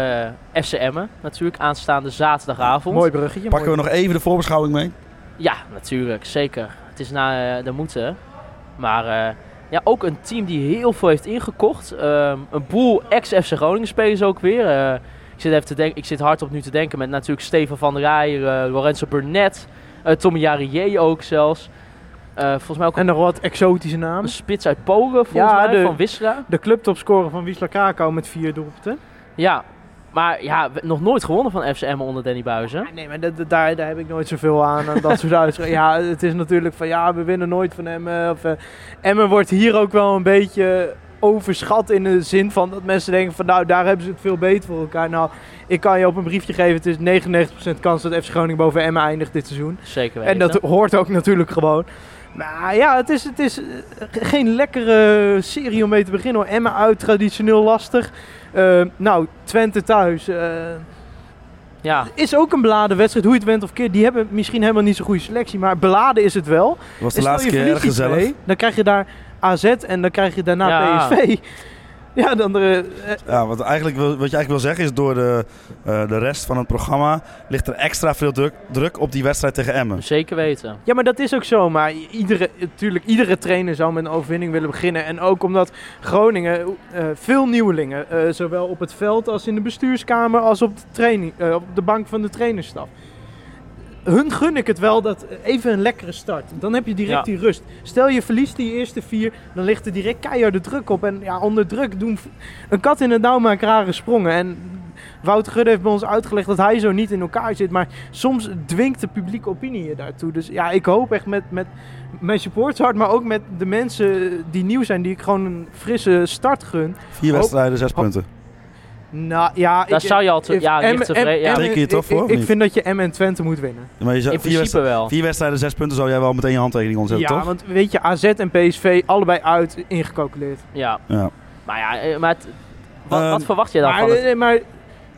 eh FC Emmen, natuurlijk aanstaande zaterdagavond. Mooi bruggetje. Pakken we nog even de voorbeschouwing mee? Ja, natuurlijk, zeker. Het is na eh, de moeten. Maar eh, ja, ook een team die heel veel heeft ingekocht. Ehm, een boel ex-FC Groningen spelers ook weer. Eh, ik, zit even te denken, ik zit hardop nu te denken met natuurlijk Steven van der Rij, eh, Lorenzo Burnett, eh, Tommy Jarrier ook zelfs. Eh, volgens mij ook En nog wat exotische namen. een spits uit Polen, volgens mij, van Wisla. De clubtopscorer van Wisla Krakau met vier doelpunten. Ja, maar ja, we- nog nooit gewonnen van FC Emmen onder Danny Buizen. Ah, Nee, maar dat- dat- daar, daar heb ik nooit zoveel aan. aan dat soort uitspraken. Ja, het is natuurlijk van ja, we winnen nooit van Emmen. Of, eh, Emmen wordt hier ook wel een beetje overschat in de zin van dat mensen denken van nou, daar hebben ze het veel beter voor elkaar. Nou, ik kan je op een briefje geven, het is 99% kans dat FC Groningen boven Emmen eindigt dit seizoen. Zeker weten. En dat hoort ook natuurlijk gewoon. Maar ja, het is, het is eh, ge- geen lekkere serie om mee te beginnen hoor. Emmen uit, traditioneel lastig. Eh, nou, Twente thuis. eh, Ja. is ook een beladen wedstrijd, hoe je het went of keer. Die hebben misschien helemaal niet zo'n goede selectie, maar beladen is het wel. was de En stel laatste je keer verliest erg die gezellig. twee, Dan krijg je daar AZ en dan krijg je daarna Ja. PSV. Ja, dan eh, de, Ja, wat, eigenlijk, wil- wat je eigenlijk wil zeggen is, door de, eh, de rest van het programma ligt er extra veel druk, druk op die wedstrijd tegen Dus Emmen. Zeker weten. Ja, maar dat is ook zo. Maar iedere, natuurlijk, iedere trainer zou met een overwinning willen beginnen. En ook omdat Groningen eh, veel nieuwelingen, eh, zowel op het veld als in de bestuurskamer, als op de, training, eh, op de bank van de trainerstaf. Hun gun ik het wel dat eh, even een lekkere start. Dan heb je direct Ja. die rust. Stel je verliest die eerste vier, dan ligt er direct keiharde druk op. En ja, onder druk doen v- een kat in het nauw maakt rare sprongen. En Wouter Gudde heeft bij ons uitgelegd dat hij zo niet in elkaar zit. Maar soms dwingt de publieke opinie je daartoe. Dus ja, ik hoop echt met, met mijn supportshart, maar ook met de mensen die nieuw zijn, die ik gewoon een frisse start gun. Vier Hoop- wedstrijden, zes punten. Nou ja, Daar zou je al te- ik- ja, ligt Emmen- tevreden- Emmen- ja. Emmen- Drie keer toch, ik- ik- hoor, of Ik niet? vind dat je M en Twente moet winnen. Maar je zou- In vier principe wedstrijden- wel. Vier wedstrijden, zes punten zou jij wel meteen je handtekening ja, ontzetten, toch? want weet je, AZ en PSV allebei uit ingecalculeerd. Ja. Ja. Maar ja, eh, maar het- wat, wat verwacht je dan Ehm, maar, van het? eh, maar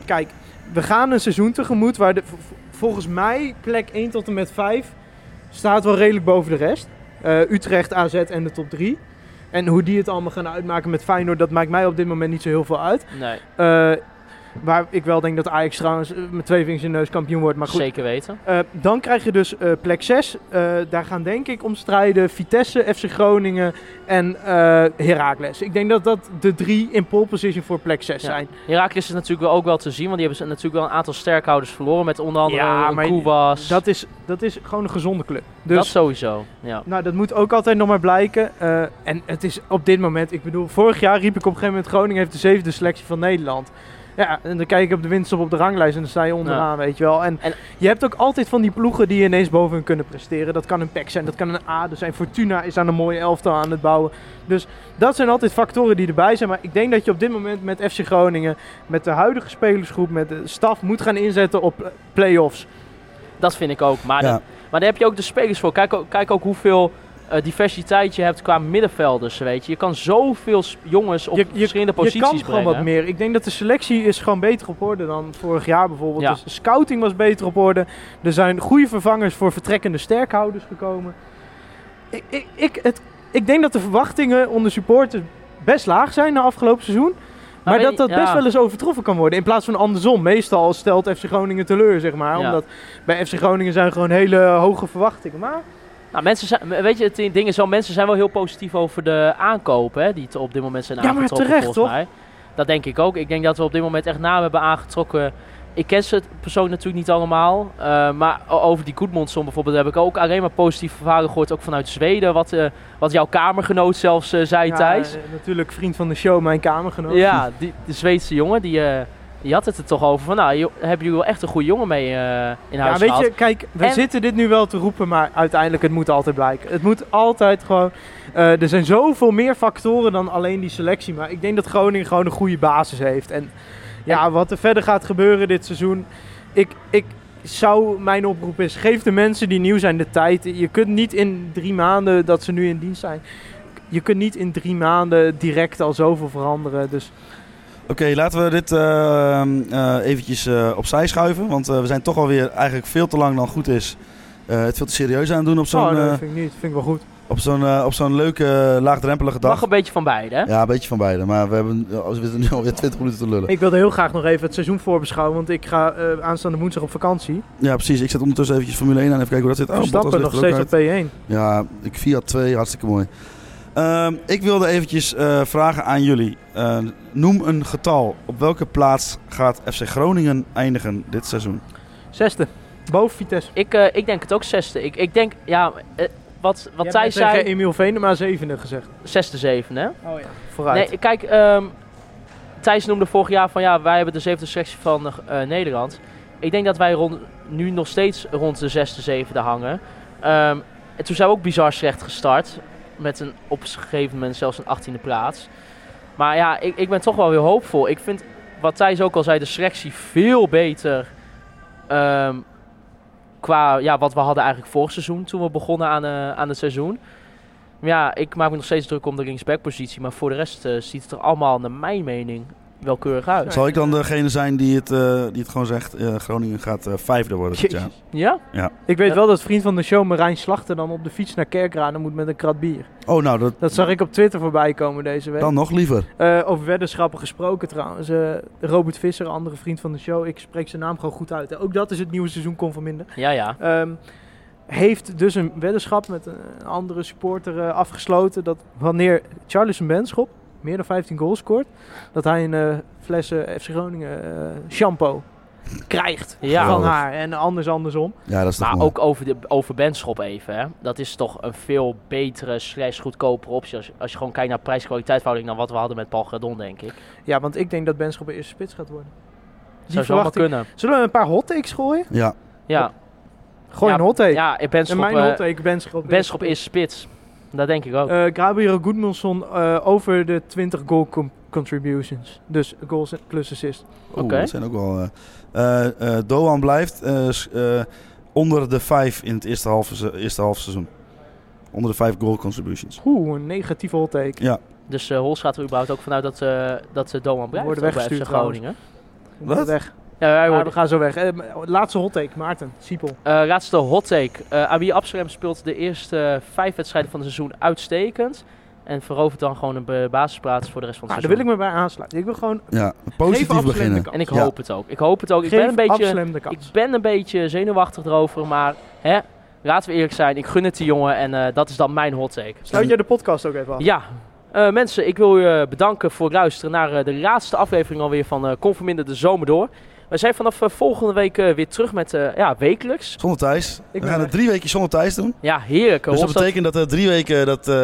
kijk, we gaan een seizoen tegemoet waar de, v- v- volgens mij plek 1 tot en met 5 staat wel redelijk boven de rest. Eh, Utrecht, AZ en de top 3. En hoe die het allemaal gaan uitmaken met Feyenoord, dat maakt mij op dit moment niet zo heel veel uit. Nee. Eh, waar ik wel denk dat Ajax trouwens eh, met twee vingers in de neus kampioen wordt. Maar goed. Zeker weten. Eh, dan krijg je dus eh, plek 6. daar gaan denk ik om strijden Vitesse, FC Groningen en eh Heracles. Ik denk dat dat de drie in pole position voor plek 6 zijn. Herakles is natuurlijk wel- ook wel te zien, want die hebben ze natuurlijk wel een aantal sterkhouders verloren. Met onder andere Ja, een maar Koewas. Dat is, dat is gewoon een gezonde club. Dus, Dat sowieso. Ja. Nou, dat moet ook altijd nog maar blijken. Eh, en het is op dit moment, ik bedoel, vorig jaar riep ik op een gegeven moment: Groningen heeft de zevende selectie van Nederland. Ja, en dan kijk ik op de winst op, op de ranglijst en dan sta je onderaan, weet je wel. En, je hebt ook altijd van die ploegen die ineens boven hun kunnen presteren. Dat kan een PEC zijn, dat kan een ADE zijn. Fortuna is aan een mooie elftal aan het bouwen. Dus dat zijn altijd factoren die erbij zijn. Maar ik denk dat je op dit moment met FC Groningen, met de huidige spelersgroep, met de staf moet gaan inzetten op eh, play-offs. Dat vind ik ook. Maar, Ja. dat- maar daar heb je ook de spelers voor. Kijk, ook- kijk ook hoeveel eh, diversiteit je hebt qua middenvelders. Weet je. je kan zoveel s- jongens op verschillende posities Je kan gewoon brengen. wat meer. Ik denk dat de selectie is gewoon beter op orde dan vorig jaar bijvoorbeeld. Ja. Dus de scouting was beter op orde. Er zijn goede vervangers voor vertrekkende sterkhouders gekomen. Ik, ik, ik, het, ik denk dat de verwachtingen onder supporters best laag zijn na afgelopen seizoen. Maar, weet dat dat je- ja. best wel eens overtroffen kan worden. In plaats van andersom. Meestal stelt FC Groningen teleur, zeg maar. Ja. Omdat bij FC Groningen zijn gewoon hele hoge verwachtingen. Maar Nou, mensen zijn, weet je, het ding is wel, mensen zijn wel heel positief over de aankopen hè, die te- op dit moment zijn Ja, maar aangetrokken. terecht, volgens toch? mij. Dat denk ik ook. Ik denk dat we op dit moment echt namen hebben aangetrokken. Ik ken ze persoonlijk natuurlijk niet allemaal. eh, maar o- over die Goedmondson bijvoorbeeld heb ik ook alleen maar positieve verhalen gehoord. Ook vanuit Zweden, wat, eh, wat jouw kamergenoot zelfs eh, zei, Ja, Thijs. eh, natuurlijk vriend van de show, mijn kamergenoot. Ja, die, de Zweedse jongen, die, eh, die had het er toch over van, nou, joh, hebben jullie wel echt een goede jongen mee eh, in huis Ja, weet je, gehaald. kijk, we En- zitten dit nu wel te roepen, maar uiteindelijk, het moet altijd blijken. Het moet altijd gewoon... eh, er zijn zoveel meer factoren dan alleen die selectie. Maar ik denk dat Groningen gewoon een goede basis heeft. En ja, wat er verder gaat gebeuren dit seizoen... Ik, ik zou... Mijn oproep is, geef de mensen die nieuw zijn de tijd. Je kunt niet in drie maanden dat ze nu in dienst zijn... Je kunt niet in drie maanden direct al zoveel veranderen. Dus Oké, laten we dit eh, eh, eventjes eh, opzij schuiven. Want eh, we zijn toch alweer eigenlijk veel te lang dan goed is. eh, het veel te serieus aan het doen op zo'n oh, nee, eh, vind ik niet. Vind ik wel goed. op zo'n eh, op zo'n leuke, laagdrempelige dag. Mag een beetje van beide, hè? Ja, een beetje van beide. Maar we, hebben, eh, we zitten nu alweer 20 minuten te lullen. Ik wilde heel graag nog even het seizoen voorbeschouwen, want ik ga eh, aanstaande woensdag op vakantie. Ja, precies. Ik zet ondertussen eventjes Formule 1 aan. Even kijken hoe dat zit. Oh, Verstappen Bottas ligt nog er ook steeds op P1. Ja, ik Fiat 2. Hartstikke mooi. Ehm, ik wilde eventjes eh, vragen aan jullie. Eh, noem een getal. Op welke plaats gaat FC Groningen eindigen dit seizoen? Zesde. Boven Vitesse. Ik, eh, ik denk het ook zesde. Ik, ik denk, ja, eh, wat, wat Jij Thijs hebt net tegen zei, Emiel Venema zevende gezegd. zesde, zevende, hè? Oh ja. Vooruit. Nee, kijk, ehm, Thijs noemde vorig jaar van ja, wij hebben de zevende sectie van eh, Nederland. Ik denk dat wij rond, nu nog steeds rond de zesde, zevende hangen. Ehm, en toen zijn we ook bizar slecht gestart. Met een, op een gegeven moment zelfs een achttiende plaats. Maar ja, ik, ik ben toch wel weer hoopvol. Ik vind, wat Thijs ook al zei, de selectie veel beter. ehm, qua ja, wat we hadden eigenlijk vorig seizoen toen we begonnen aan, eh, aan het seizoen. Maar Ja, ik maak me nog steeds druk om de linksbackpositie. Maar voor de rest eh, ziet het er allemaal, naar mijn mening, welkeurig uit. Zal ik dan degene zijn die het, eh, die het gewoon zegt? eh, Groningen gaat eh, vijfde worden dit jaar. Ja? Ja. Ik weet wel dat vriend van de show Marijn Slachter dan op de fiets naar Kerkraden moet met een krat bier. Oh, nou, dat, Dat zag ik op Twitter voorbij komen deze week. dan nog liever. Eh, over weddenschappen gesproken trouwens. Eh, Robert Visser, andere vriend van de show. Ik spreek zijn naam gewoon goed uit. hè. Ook dat is het nieuwe seizoen Kom van Minder. Ja, ja. Ehm, heeft dus een weddenschap met een een andere supporter eh, afgesloten. Dat wanneer Charles Benschop meer dan 15 goals scoort. Dat hij een eh fles eh, FC Groningen eh, shampoo krijgt Ja. van Geweldig. haar. En anders andersom. Ja, dat is toch maar mooi. ook over, de, over Benschop even. Hè. Dat is toch een veel betere, slash goedkopere optie. Als, als je gewoon kijkt naar prijs-kwaliteitverhouding dan wat we hadden met Paul Gradon, denk ik. Ja, want ik denk dat Benschop de eerste spits gaat worden. Die Zou zomaar verwacht ik. kunnen. Zullen we een paar hot takes gooien? Ja. Ja. Gooi ja, een hot take. Ja, en Benschop, En mijn eh, hot take, Benschop is- Benschop is spits. Dat denk ik ook. Eh, Gabriel Goodmanson eh, over de 20 goal com- contributions. Dus goals en- plus assist. Oeh, dat zijn ook wel. eh, eh, eh, Doan blijft eh, s- eh, onder de vijf in het eerste half, eerste half seizoen. Onder de vijf goal contributions. Oeh, een negatieve hot take. Ja. Dus eh Hols gaat er überhaupt ook vanuit dat, eh dat eh, Doan blijft. worden ook bij weggestuurd FC Groningen. We moeten Wat? Weg. Ja, wij Maar worden- we gaan zo weg. Eh, maar- laatste hot take, Maarten, Siepel. Eh, laatste hot take. Eh Abi Amsterdam speelt de eerste eh, vijf wedstrijden van het seizoen uitstekend. En verovert dan gewoon een be- basisplaats voor de rest van het Nou, daar wil ik seizoen. me bij aansluiten. Ik wil gewoon Ja, Geef positief eh. Absalem beginnen. de kans. En ik Ja. hoop het ook. Ik hoop het ook. Ik Geef ben, een beetje, Absalem de kans. ik ben een beetje zenuwachtig erover. Maar hè, laten we eerlijk zijn. Ik gun het die jongen. En eh, dat is dan mijn hot take. Sluit jij de podcast ook even af? Ja. Eh, mensen, ik wil u eh, bedanken voor het luisteren naar eh, de laatste aflevering alweer van eh Conforminder de Zomer Door. We zijn vanaf eh, volgende week eh, weer terug met eh, ja, wekelijks. Zonder Thijs. We gaan het drie weken zonder Thijs doen. Ja, heerlijk. Dus dat Hofstad. betekent dat er drie weken dat, eh,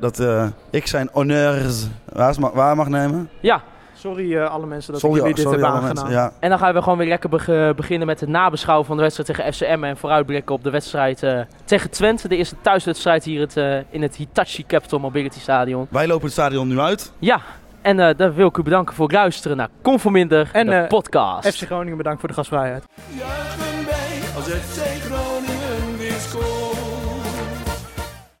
dat eh, ik zijn honneurs waar, ma- waar mag nemen. Ja. Sorry eh, alle mensen dat Sorry, ik jullie dit sorry hebben alle aangedaan. mensen, ja. En dan gaan we gewoon weer lekker beg- beginnen met het nabeschouwen van de wedstrijd tegen FCM. En vooruitblikken op de wedstrijd eh, tegen Twente. De eerste thuiswedstrijd hier het, eh, in het Hitachi Capital Mobility Stadion. Wij lopen het stadion nu uit. Ja, en eh daar wil ik u bedanken voor het luisteren naar Conforminder, en, de eh, podcast. FC Groningen, bedankt voor de gastvrijheid. Juichen wij als FC Groningen weer scoort.